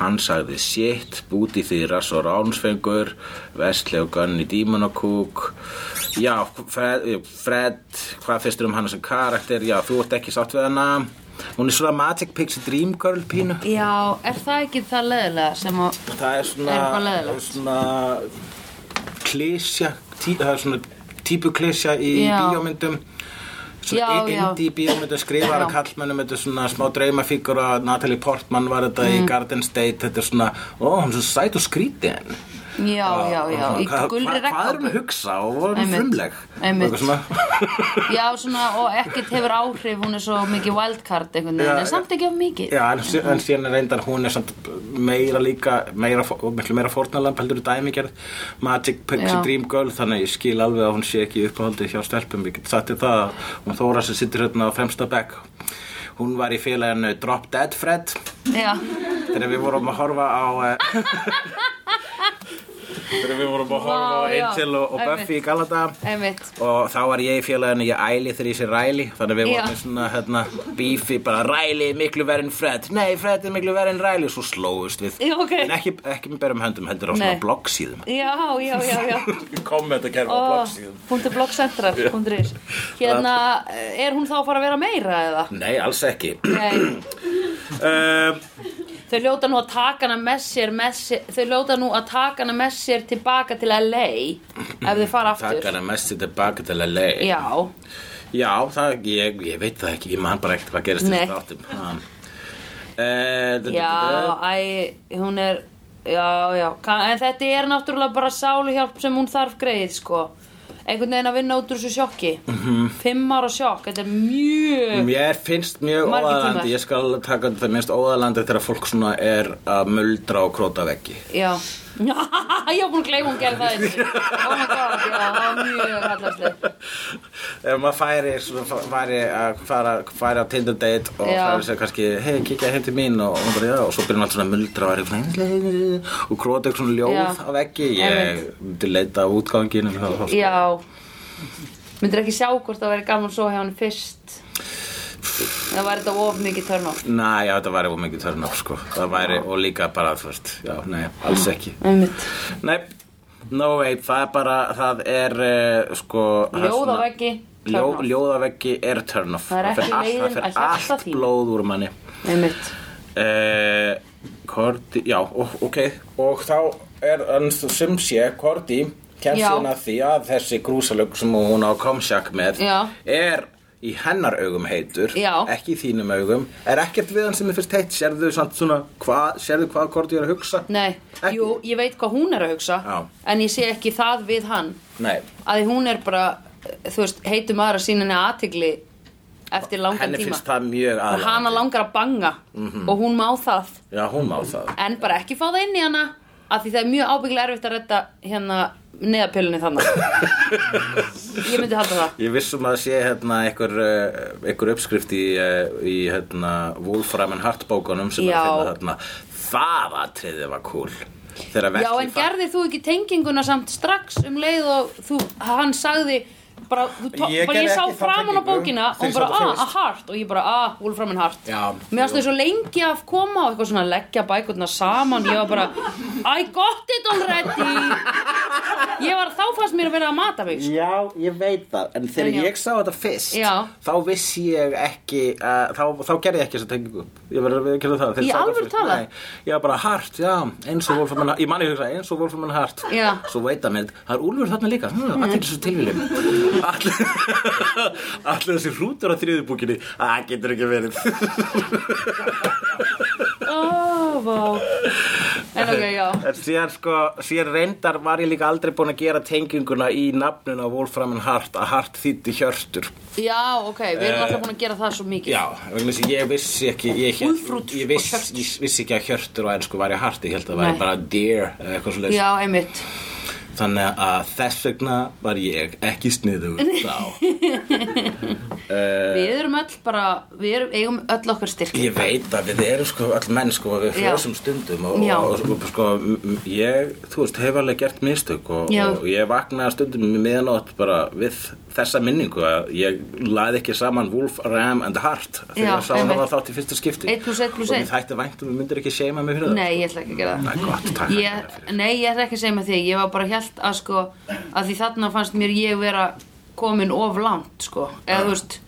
hann sagði shit, búti því rass og ránsfengur, Vestley og Gunn í Dímonakúk, já, Fred, Fred, hvað finnst þér um hann sem karakter, já, þú ert ekki sátt við hana, hún er svona Magic Pixie Dream Girl pínu. Já, er það ekki það leðilega sem að Það er svona, Er eitthvað leiðilegt? svona klísja, tí, það er svona típu klísja í Já. bíómyndum svona Já, já, já. indie bíómyndum skrifar Já. að kallmennum þetta er svona smá draumafíkur Mm. Natalie Portman var þetta í Garden State þetta er svona, ó, hann er svo sæt og skríti henn Já, já, já, Og í svona, hvað- gulri hvað- Hvað erum við að regnkápu. hugsa og vorum Einmitt. frumleg Einmitt. Og eitthvað svona- Já, svona, og ekkert hefur áhrif, hún er svo mikið wildcard einhvern veginn, Já, en samt ekki af mikið. Já, en, sí- en síðan er reyndar hún er samt meira líka, meira, fó- og miklu meira fórnalamb heldur í dæmigerð Magic Pixie Já. Dream Girl, þannig ég skil alveg að hún sé ekki í uppáhaldi hjá stelpum, ég get sagt þér það að hún Þóra sem sittur hérna á fremsta bekk hún var í félaginu Drop Dead Fred Já, þegar við vorum að horfa á eh, þegar við vorum að horfa á Vá, já. Angel og, og Einmitt. Buffy í Galata einmitt. og þá var ég í félaginu ég æli þegar ég sé ræli þannig að við Já. vorum með svona hérna, bífi bara ræli er miklu verið en Fred nei Fred er miklu verið en ræli og svo slóðust við Já, ok. en ekki, ekki með berum höndum heldur á svona Nei. bloggsíðum Já, já, já, já. kommentakerfi á Ó, bloggsíðum Punktur bloggsentrar.is Hérna, er hún þá að fara að vera meira eða? nei alls ekki Nei, um, þau ljóta nú að taka hana með sér, með sér þau ljóta nú að taka hana með sér tilbaka til LA ef þau fara aftur takk hana mest í tilbaka til að leið Já, Já, það, ég, ég veit það ekki, ég man bara ekkert hvað gerist Nei. í þáttum. Ha. Eh, du- du- já, æ, hún er Já, já, ka- en þetta er náttúrulega bara sáluhjálp sem hún þarf greið, sko einhvern veginn að vinna út úr þessu sjokki Fimm ára sjokk, þetta er du- mjög Mér finnst mjög Margir tímar. óðalandi, ég skal taka undir það mér finnst óðalandi þegar fólk svona er að muldra og króta veggi. Já, ég var búin að gleyma hún gerði það einu sinni. Oh my god, já, það var mjög hallarslega Ef maður færi, svona, fa- færi að fara, færi á Tinder date og Já. færi sér kannski, hei, kikja heim til mín og hún bara, já, og svo byrjum allt svona að muldra og er eitthvað, og króta eitthvað svona ljóð Já. á veggi. Ég Einmitt. myndi leita á útganginu. og það. Já Myndir ekki sjá hvort það væri gaman svo hjá hann fyrst Það var þetta of mikið törn á Næ, já, þetta væri of mikið törn á, sko. Það væri, og líka bara, þú veist, já, nei, alls Mm. ekki. Einmitt Nei, no way, það er bara, það er, uh, sko það er Ljóð á svona- veggi, turn Ljó, off. Ljóðaveggi er turn off Það er fer ekki allt- Það leiðin að fer hjarta allt þínu. blóð úr manni Einmitt uh, Korti, já, ó- ok Og þá er, en sem sé, Korti kemst Já. hún að því að þessi grúsalögg sem hún á komsjakk með Já. er í hennar augum heitur Já. ekki í þínum augum er ekkert við hann sem er fyrst heitt sérðu samt svona, hvað, sérðu hvað Korti er að hugsa Nei, Ekki. jú, ég veit hvað hún er að hugsa Já. En ég sé ekki það við hann Nei, Að því hún er bara, þú veist, heitum aðra sína henni aðtigli Eftir langan henni tíma finnst það Mhm. mjög Og aðlega hana langar að banga Og hún má það Já, hún má það En bara ekki fá það inn í hana Af því það er mjög ábyggilega erfitt að redda hérna neðapilunni þannig Ég myndi halda það Ég vissum að sé hérna einhver, eh, einhver uppskrift í, eh, í hérna, Wolfram and Hart bókunum sem er Já. að finna þarna Það atriði var cool Þegar Já, Wesley en fann- gerðir þú ekki tenginguna samt strax um leið og þú, hann sagði bara, þú, tó- Ég bara ég gerði sá ekki þá framan á tengingu. bókina og Þeir hún bara, sáu það ah, fyrst. að hart og ég bara, ah, Wolfram and Hart Já, Mér varst þau svo lengi að koma og eitthvað svona leggja bækurnar saman ég var bara, I got it already Ég var, þá fannst mér að vera að mata mig sko. Já, ég veit það, en þegar En já. ég sá þetta fyrst, Já. þá vissi ég ekki, uh, þá, þá gerði ég ekki þessa tengingu. Ég verður að viðkynna það. þegar ég Í sá þetta alvöru fyrst. talað? Nei, ég var bara hart, já, eins og Wolfram and Hart, ég manni hugsa, eins og Wolfram and Hart. Já. Svo veit að mér, það er úlfur þarna líka, hm, allir þessu tilvílum. Allir, allir þessi hrútur á þriðubúkinni, það getur ekki verið. Ó, vá En ok, já En síðan sko, síðan reyndar var ég líka aldrei búin að gera tenginguna í nafnun á Wolfram and Hart, að Hart þýtti hjörtur. Já, ok, við erum alltaf búin að gera það svo mikið Já, vegna þess að ég vissi ekki ég, hélt- Úlfrútur ég, og viss, hjörtur. ég vissi ekki að hjörtur og ennsku væri hart ég held að það væri Nei. bara deer eða eitthvað svo Já, einmitt þannig að þess vegna var ég ekki sniðug þá Við erum öll bara, við erum, eigum öll okkar styrk Eh. ég veit að við erum sko all menn sko og við Já. frjósum stundum og, Já. og, og sko m- m- ég, þú veist, hef alveg gert mistök og, Já. og ég vaknaði stundum í miðanótt bara við þessa minningu að ég laði ekki saman Wolf, Ram and Hart Já, þegar ég sá einmitt. það þátt í fyrsta skipti Einn plús einn plús og einn. mér þætti vænt og mér myndir ekki seima mig fyrir það Nei, ég ætla ekki að gera það Það er gott, takk ég, Nei, ég ætla ekki að segja með þig Ég var bara hjælt að sko að Því þarna fannst mér ég vera komin of langt sko Eða þú veist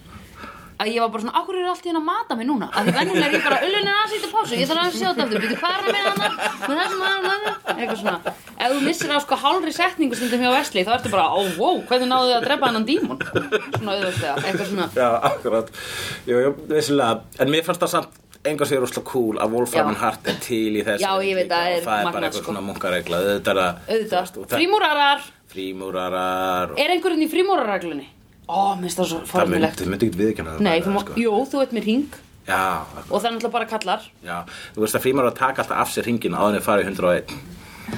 að ég var bara svona, akkur er allt í henn að mata mig núna að því venjulega er ég bara, ullun er aðeins eitthvað pásu ég þarf að sjá þetta aftur, býtu hvað er að meina hann með þessum að hann eitthvað svona ef þú missir á sko hálfri setningu stundum hjá Vesli þá ertu bara, ó, wow, hvernig náðu þið að drepa hennan dímon svona auðvöldlega, eitthvað svona Já, akkurat Jú, jú, vissilega En mér fannst það samt enga sér ósla cool að Wolfram Já. and Hart er til í þessu Já, ég veit líka að og það er það er bara magnað, eitthvað sko. svona munkaregla auðvitað er það- þú auðvitað, veist, og það- frímúrarar frímúrarar og er einhverjum í frímúrarreglunni ó, minnst það svo það myndi, formulegt þau myndi ekki viðkjöna það nei, bara, þú má, sko. jú, þú ert með ring já, og það er náttúrulega bara kallar já, þú veist að frímúrarar taka alltaf af sér hringin áður en þeir fara í 101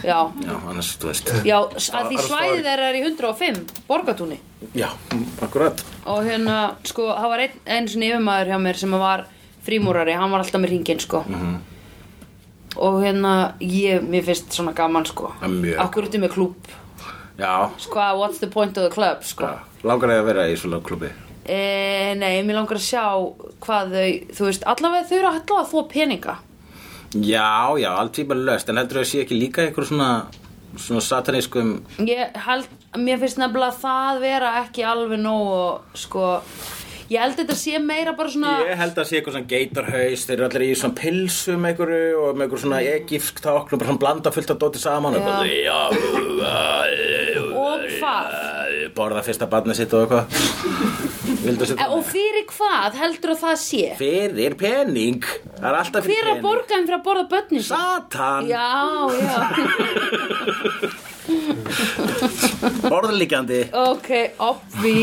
já, já, annars, þú veist já, að því Bara svæðið story. þeirra er í 105 borgatúni já, akkurat og hérna, sko, það var einn ein svona yfirmaður hjá mér sem var frímúrari hann var alltaf með ringin, sko Mhm. og hérna, ég, mér finnst svona gaman, sko Það er mjög akkur út með klúb, já, sko, what's the point of the club, sko já. langar þig að vera í svona klubi E, nei, mér langar að sjá hvað þau, þú veist, allavega þau eru allavega að þvó peninga. já, já, allt því bara löst en heldur þau að sé ekki líka einhver svona svona satanískum Ég held, mér finnst nefnilega það vera ekki alveg nóg og sko, ég held þetta sé meira bara svona, Ég held að sé eitthvað svona geitarhaus, þeir eru allir í svona pilsum einhverju og með einhverju svona egypsk tákn og bara svona blanda fullt af dóti saman og eitthvað, já, og hvað? borða fyrsta barnið sitt og eitthvað. Vildu að E, setja og fyrir hvað heldur að það sé? Fyrir pening, það er alltaf fyrir Hver að pening. borga þeim fyrir að borða börnin sín? Satan, Já, já, borðlíkjandi. ok, obvi,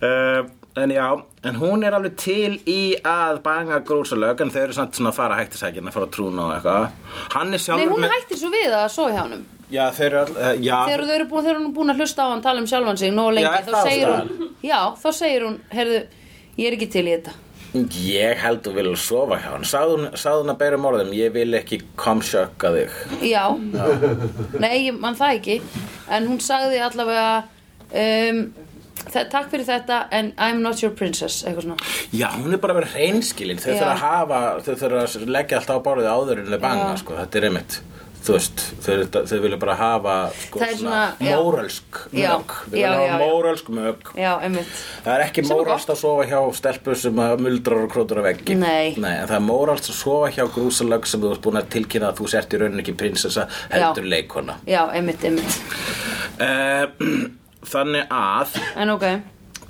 Uh, en já, en hún er alveg til í að banga grúsalög en þau eru samt svona að fara hættisækina að fara að trúna og eitthvað. Hann er nei sjálfur hún með- hættir svo við að sofa hjá hannum. Já, þau eru all... Uh, já, Þegar þau eru búin, þegar hún er búin að hlusta á hann tala um sjálfan sig nógu lengi, Já, er þá það segir ástæðan? hún, já, þá segir hún, heyrðu, ég er ekki til í þetta. Ég held þú vilja sofa hjá hann Sáðu hún, sagði hún að beirum orðum Ég vil ekki komsjökka þig Já, nei, ég man það ekki En hún sagði allavega um, þe- Takk fyrir þetta En I'm not your princess Eitthvað svona Já, hún er bara að vera reynskilin Þau Já. þurfa að hafa, þau þurfa að leggja allt á borðið áður en þau banga, sko, þetta er einmitt Þú veist, þau, eru- þau vilja bara hafa sko, Það er svona, já. móralsk Já, mög Þau já, vilja já, já. hafa móralsk mög Já, einmitt Það er ekki er móralst að sofa hjá stelpu sem að muldrar og krótur af veggi Nei. en það er móralst að sofa hjá grúsalögg sem þú ert búin að tilkynna að þú sért í rauninni ekki prinsessa heldur leikona Já, einmitt, einmitt uh, Þannig að En ok,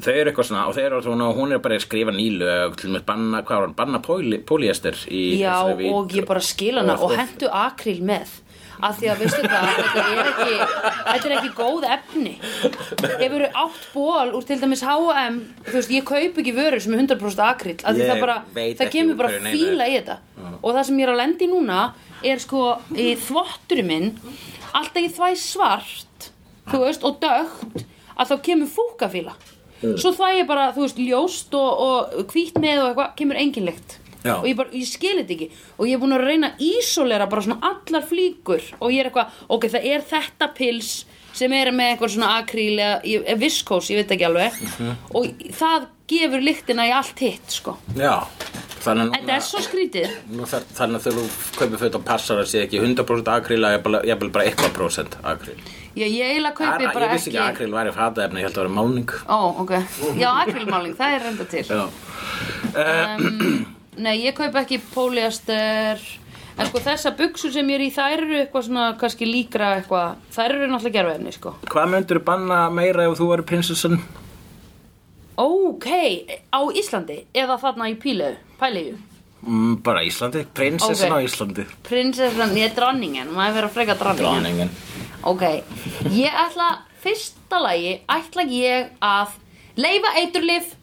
þau eru eitthvað svona og þau eru svona og hún er bara að skrifa nýlög til með banna, hvað var hann, banna póli- pólíester í já þessari vít- og ég bara skil hana og- Og hentu akril með Af því að veistu það, þetta er ekki Þetta er ekki góð efni Ef eru átt ból úr til dæmis H&M Þú veist, ég kaup ekki vörur sem er 100% akril Af því Ég það bara, veit það ekki kemur úr bara hverju neinu er. fíla í þetta og það sem ég er að lendi núna er sko í þvotturinn minn alltaf ég þvæ svart þú veist og dögt að þá kemur fúkafíla svo þvæ ég bara þú veist ljóst og, og hvít með og eitthvað kemur enginlegt Já. og ég bara, ég skil þetta ekki og ég er búin að reyna að ísolera bara svona allar flíkur og ég er eitthvað, ok, það er þetta pils sem er með eitthvað svona akríl eða ég- eða viskós, ég veit ekki alveg og það gefur lyktina í allt hitt, sko Já, þannig að Þetta er svo skrítið nú þar, þannig að þegar þú kaupir föt og passar að sé ekki 100% akríl að ég vil bara eitthvað prósent akríl Já, ég eiginlega Ar, kaupi bara Ég vissi ekki að akríl væri fataefni, ég held að vera málning Ó, ok Já, akrilmáling, það er reynda til Já, Nei, ég kaupi ekki póliaster En sko þessa buksur sem ég er í Þær eru eitthvað svona, kannski líkra eitthvað Þær eru náttúrulega gerfæðinni, sko Hvað myndirðu banna meira ef þú væri prinsessan? Ok, á Íslandi Eða þarna í Pílegu, Pæliðu Mm, bara Íslandi, prinsessan Ok. á Íslandi Prinsessan, ég er dronningin, maður vera freka dronningin Dráningin Ok, ég ætla Fyrsta lagi ætla ég að Leifa eiturlif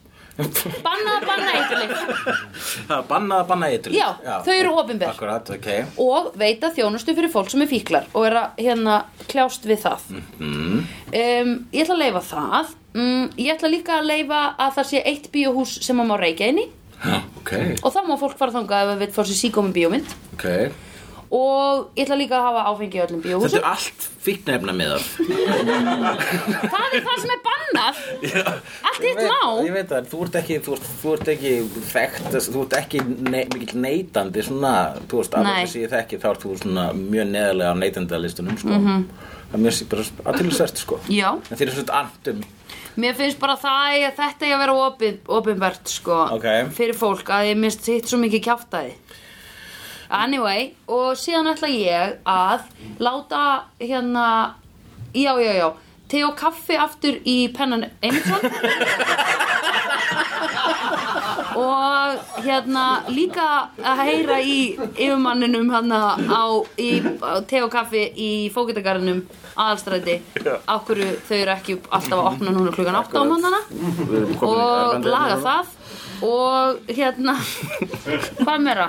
Banna, banna eiturlif Banna að banna eitur Já, þau eru opinber. Akkurat, ok og veita þjónustu fyrir fólk sem er fíklar og er að hérna kljást við það um, ég ætla að leifa það um, ég ætla líka að leifa að það sé eitt bíóhús sem maður má reykja inn í Já, Ok, og þá má fólk fara þangað ef það vil fá sér síkómi bíómynd ok og ég ætla líka að hafa áfengi í öllum Þetta bíóhúsum er allt fíknefna miðar það er það sem er bannað allt Ég hitt veit- Ég má veit það, þú ert ekki, þú ert, þú ert ekki þekkt, þú ert ekki ne mikill neitandi svona, þú veist, af Nei. þess að ég þekki þá ert þú svona mjög neðarlega á neitendalistunum, sko. Mm -hmm. Það mér sé bara aðtilsvært, sko. Mhm. já, En þeir eru svona um andum. mér finnst bara það eigi- þetta ég að vera opin, opinbert sko Ok. fyrir fólk að ég mist hitt svo mikið kjáftæði anyway og síðan ætla ég að láta hérna já já já te og kaffi aftur í pennan Einarsson og hérna líka að heyra í yfirmanninum hérna á, í, á te og kaffi í fókitagarðinum aðalstræti af hverju þau eru ekki alltaf að opna núna klukkan 8 á mannana Við erum komin í og erfandi laga efni núna. það og hérna hvað meira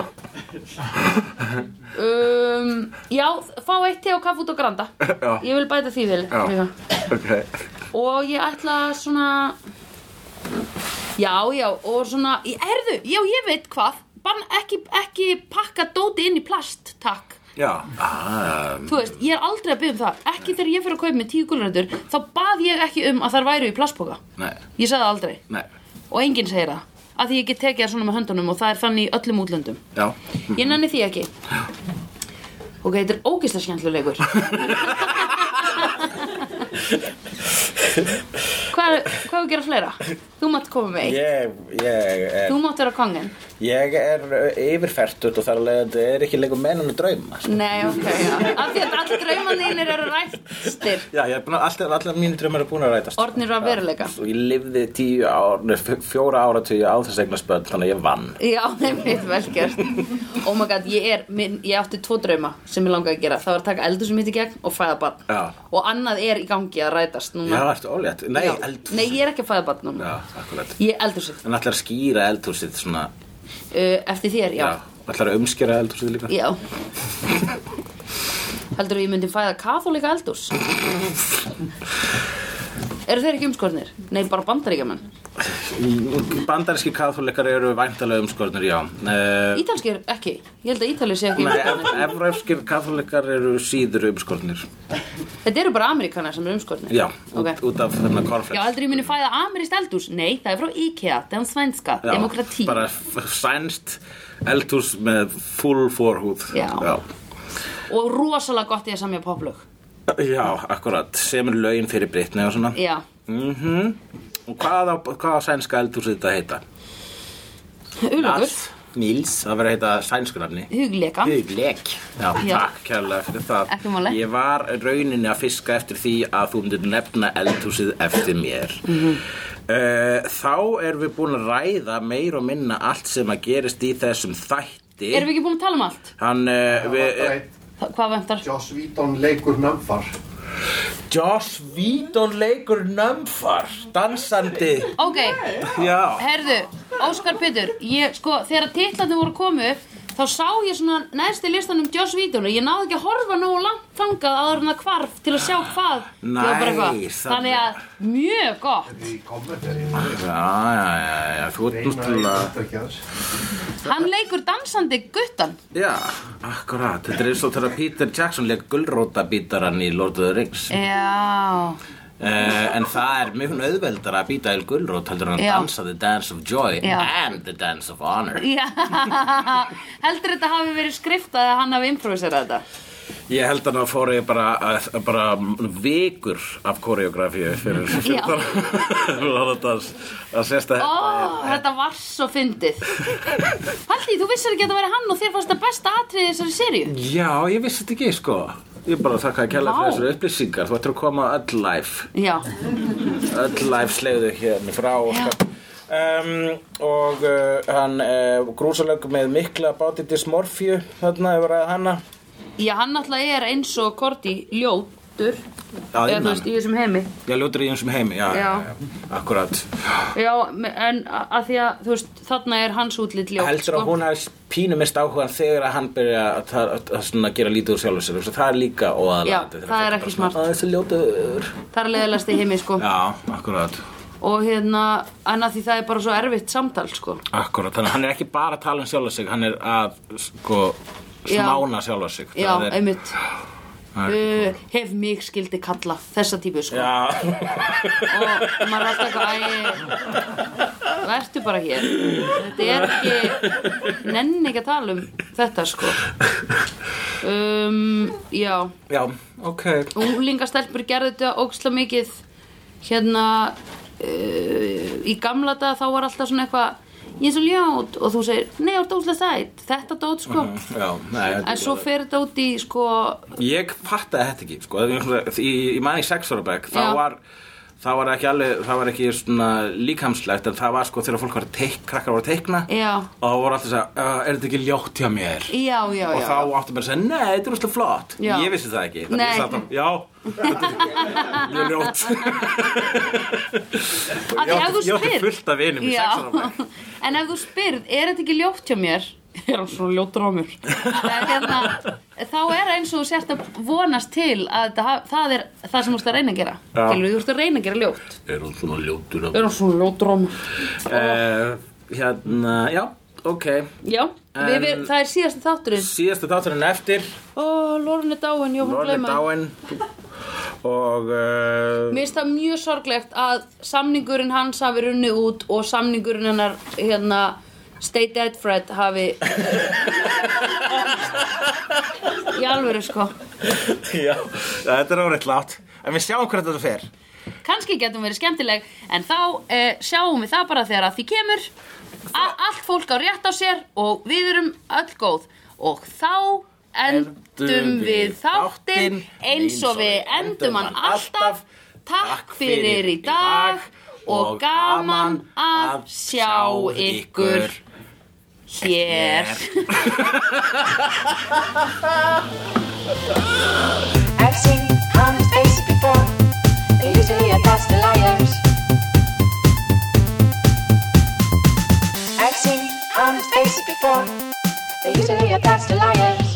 um, já, fá eitt te og kaffi út á granda Já. ég vil bæta því vil Já. Ok. og ég ætla svona já, já, og svona ég erðu, já, ég veit hvað Bann ekki, ekki pakka dóti inn í plast takk, Já. Ah, þú veist, ég er aldrei að byggja um það ekki þegar ég fyrir að kaupa með tíu gulröndur þá bað ég ekki um að þær væru í plastboka nei, ég sagði það aldrei nei. og enginn segir það, að því ég get tekið það svona með höndunum og það er þannig í öllum útlöndum Já. ég nenni því ekki ok, þetta er ógislega skemmtilegur hvað, er- hvað er að gera fleira? þú mátt koma með eitt Ég, ég, er, þú mátt vera kongin ég er yfirfertut og þar alveg að þetta er ekki lengur mennum með drauma. sko. nei, ok, já af því að allir drauman þínir eru rættir Já, ég er búin að alltaf, alltaf mínu draumar er búin að rætast. orðnir að veruleika Og ég lifði tíu ár, nei, f- fjóra áratugju á þess eignar spöld, þannig að ég vann. já, þeim við velgjört oh my god, ég er, minn, ég átti tvo drauma sem ég langaði að gera, það var að taka eldur sem hitt í gegn og fæða barn Já. og annað er í gangi að rætast Já, núna ertu ólétt. Nei, Já. eld. nei, ég er ekki að fæða barn núna Já, akkurat. ég er eldur sér En ætlar að skýra eldhúsið svona, uh, eftir þér, já. já, ætlar að umskýra eldhúsið líka. Já. Heldur að ég myndi fæða kathólika eldús? Eru þeir ekki umskornir? Nei, bara bandaríkjaman. Bandaríski katholikar eru væntalega umskornir, já. Uh, Ítalski er ekki. Ég held að Ítali sé ekki nei, umskornir. evræfskir katholikar eru síður umskornir. Þetta eru bara ameríkanar sem eru umskornir. Já, Ok. út, út af þennan Já, korflex. heldur að ég myndi fæða ameríst eldús? Nei, það er frá IKEA, það er svenska, demokratí. Bara f- sænst eldhús með full forhúð. Já. Já, Og rosalega gott í að samja poplög. já akkurat. Semur lögin fyrir Britni og svona. Mhm. Já. Og hvað á, hvað á sænska eldhúsið þetta heita? Ulokur, Nils. Það verður að heita sænsku nafni. hugleika. Hugleik. Já, Já. takk kærlega fyrir það. Ekki máli. Ég var rauninni að fiska eftir því að þú myndir nefna eldhúsið eftir mér. Mm Mhm. þá erum við búin að ræða meir og minna allt sem að gerist í þessum þætti. Erum við ekki búin að tala um allt? Hann, uh, Það var við, bara eitt. Þa- Hvað ventar? Joss Víton leikur nömmfar. Joss Víton leikur nömmfar, dansandi. Ok, Já. Herðu, Óskar Pétur, ég, sko, þegar titlarnir voru að koma upp, þá sá ég svona neðst í listanum Joss Vídun og ég náði ekki að horfa nógu langt þangað áður en að hvarf til að sjá hvað. Ég var bara eitthvað. Nice, Þannig að mjög gott. Í kommentarinn. Já, já, já, já, þú ert náttúrulega... Hann leikur dansandi guttan. Já, akkurat, þetta er eins og þegar Peter Jackson leik gullrótabítaran í Lord of the Rings. Já, Uh, en það er mjög auðveldar að býta il gullrót heldur en að Já. dansa the dance of joy Já. and the dance of honor já, heldur þetta hafi verið skriftað að hann hafi improviserað þetta. Ég held að það fór ég bara, að, bara vikur af koreografíu fyrir Já. Lóðardans að sérst að Ó, þetta var svo fyndið. Haldi, þú vissir ekki að þetta væri hann og þér fannst það besta atriði í þessari sériu. Já, ég vissi þetta ekki sko Ég bara þakka að kella Vá. fyrir þessari upplýsingar Þú ættir að koma öll life Já, Öll life slegðu hérna frá Óskar. Um, og uh, hann uh, grúsalög með mikla bátið dismorfíu þarna hefur að hana já, hann náttúrulega er eins og Korti ljótur. Já, eða ég þú man. veist, í þessum heimi Já, ljótur í einsum heimi, já, Já. já. já akkurat. já, me- en a- að því að þú veist, þarna er hans útlit sko. ljótt Heldur að hún hafi pínu mist áhugan þegar að hann byrja að, að, að, að svona gera lítið úr sjálfur sér. Svo það er líka óaðalagandi. Já, það er ekki smart. Það er þessi ljótur. það er leðilegast í heimi sko Já, akkurat. og hérna, en að því það er bara svo erfitt samtal sko Akkurat, þannig að hann er ekki bara að tala um sjálfur sig, hann er að, sko, Já. smána sjálfur sig. já, Það er, einmitt Það Uh, hef mig skildi kalla þessa típu sko Já, og maður er alltaf eitthvað æ, vertu bara hér þetta er ekki nenni ekki að tala um þetta sko um, já já, ok. Unglingastelpur gerðu þetta óksla mikið hérna uh, í gamla dag þá var alltaf svona eitthvað ég er svo ljót og þú segir nei, þú ert óksla sætt, þetta dót sko Já, nei, þetta er en svo bara- fer þetta út í sko Ég fattaði þetta ekki, sko. Ég, ég, ég man í sexorabæk, þá Já. var, það var ekki alveg, það var ekki svona líkamslegt en það var sko þegar fólk var að teik, krakkar var að teikna Já. og það voru alltaf að segja, "Uh, er þetta ekki ljótt hjá mér? já, já, og já þá áttu bara að segja, nei, þetta er úrslega flott Já. ég vissi það ekki, þannig Nei. ég sagði það, já þetta er- ég er ljótt Af því ef þú ég átti spyrð fullt af vinum í Já. sexanum En ef þú spyrð, er þetta ekki ljótt hjá mér? Er hann svona ljóttur á mér? Það er hérna, þá er eins og þú sért að vonast til að það, það er það sem þú ert að reyna að gera Gilur, þú ert að reyna að gera ljótt er hún svona ljóttur Er hann svona ljóttur á mér? Eh, hérna, já, ok Já, við, En- við, það er síðasta þátturinn síðasta þátturinn eftir Ó, Lorne er dáin, ég hún Lorne er gleyma því. dáinn og uh, Mér finnst það mjög sorglegt að samningurinn hans hafi runni út og samningurinn hennar hérna Stay Dead Fred hafi Í alvöru sko já, þetta er árið látt en við sjáum hvernig þetta fer Kanski getum verið skemmtileg en þá eh, sjáum við það bara þegar að því kemur að allt fólk á rétt á sér og við erum öll góð og þá endum Endum við við þáttinn eins og við endum hann alltaf takk fyrir í dag og gaman að sjá ykkur hér I've seen honest faces before. They usually are past the liars. I've seen honest faces before. They usually are past the liars.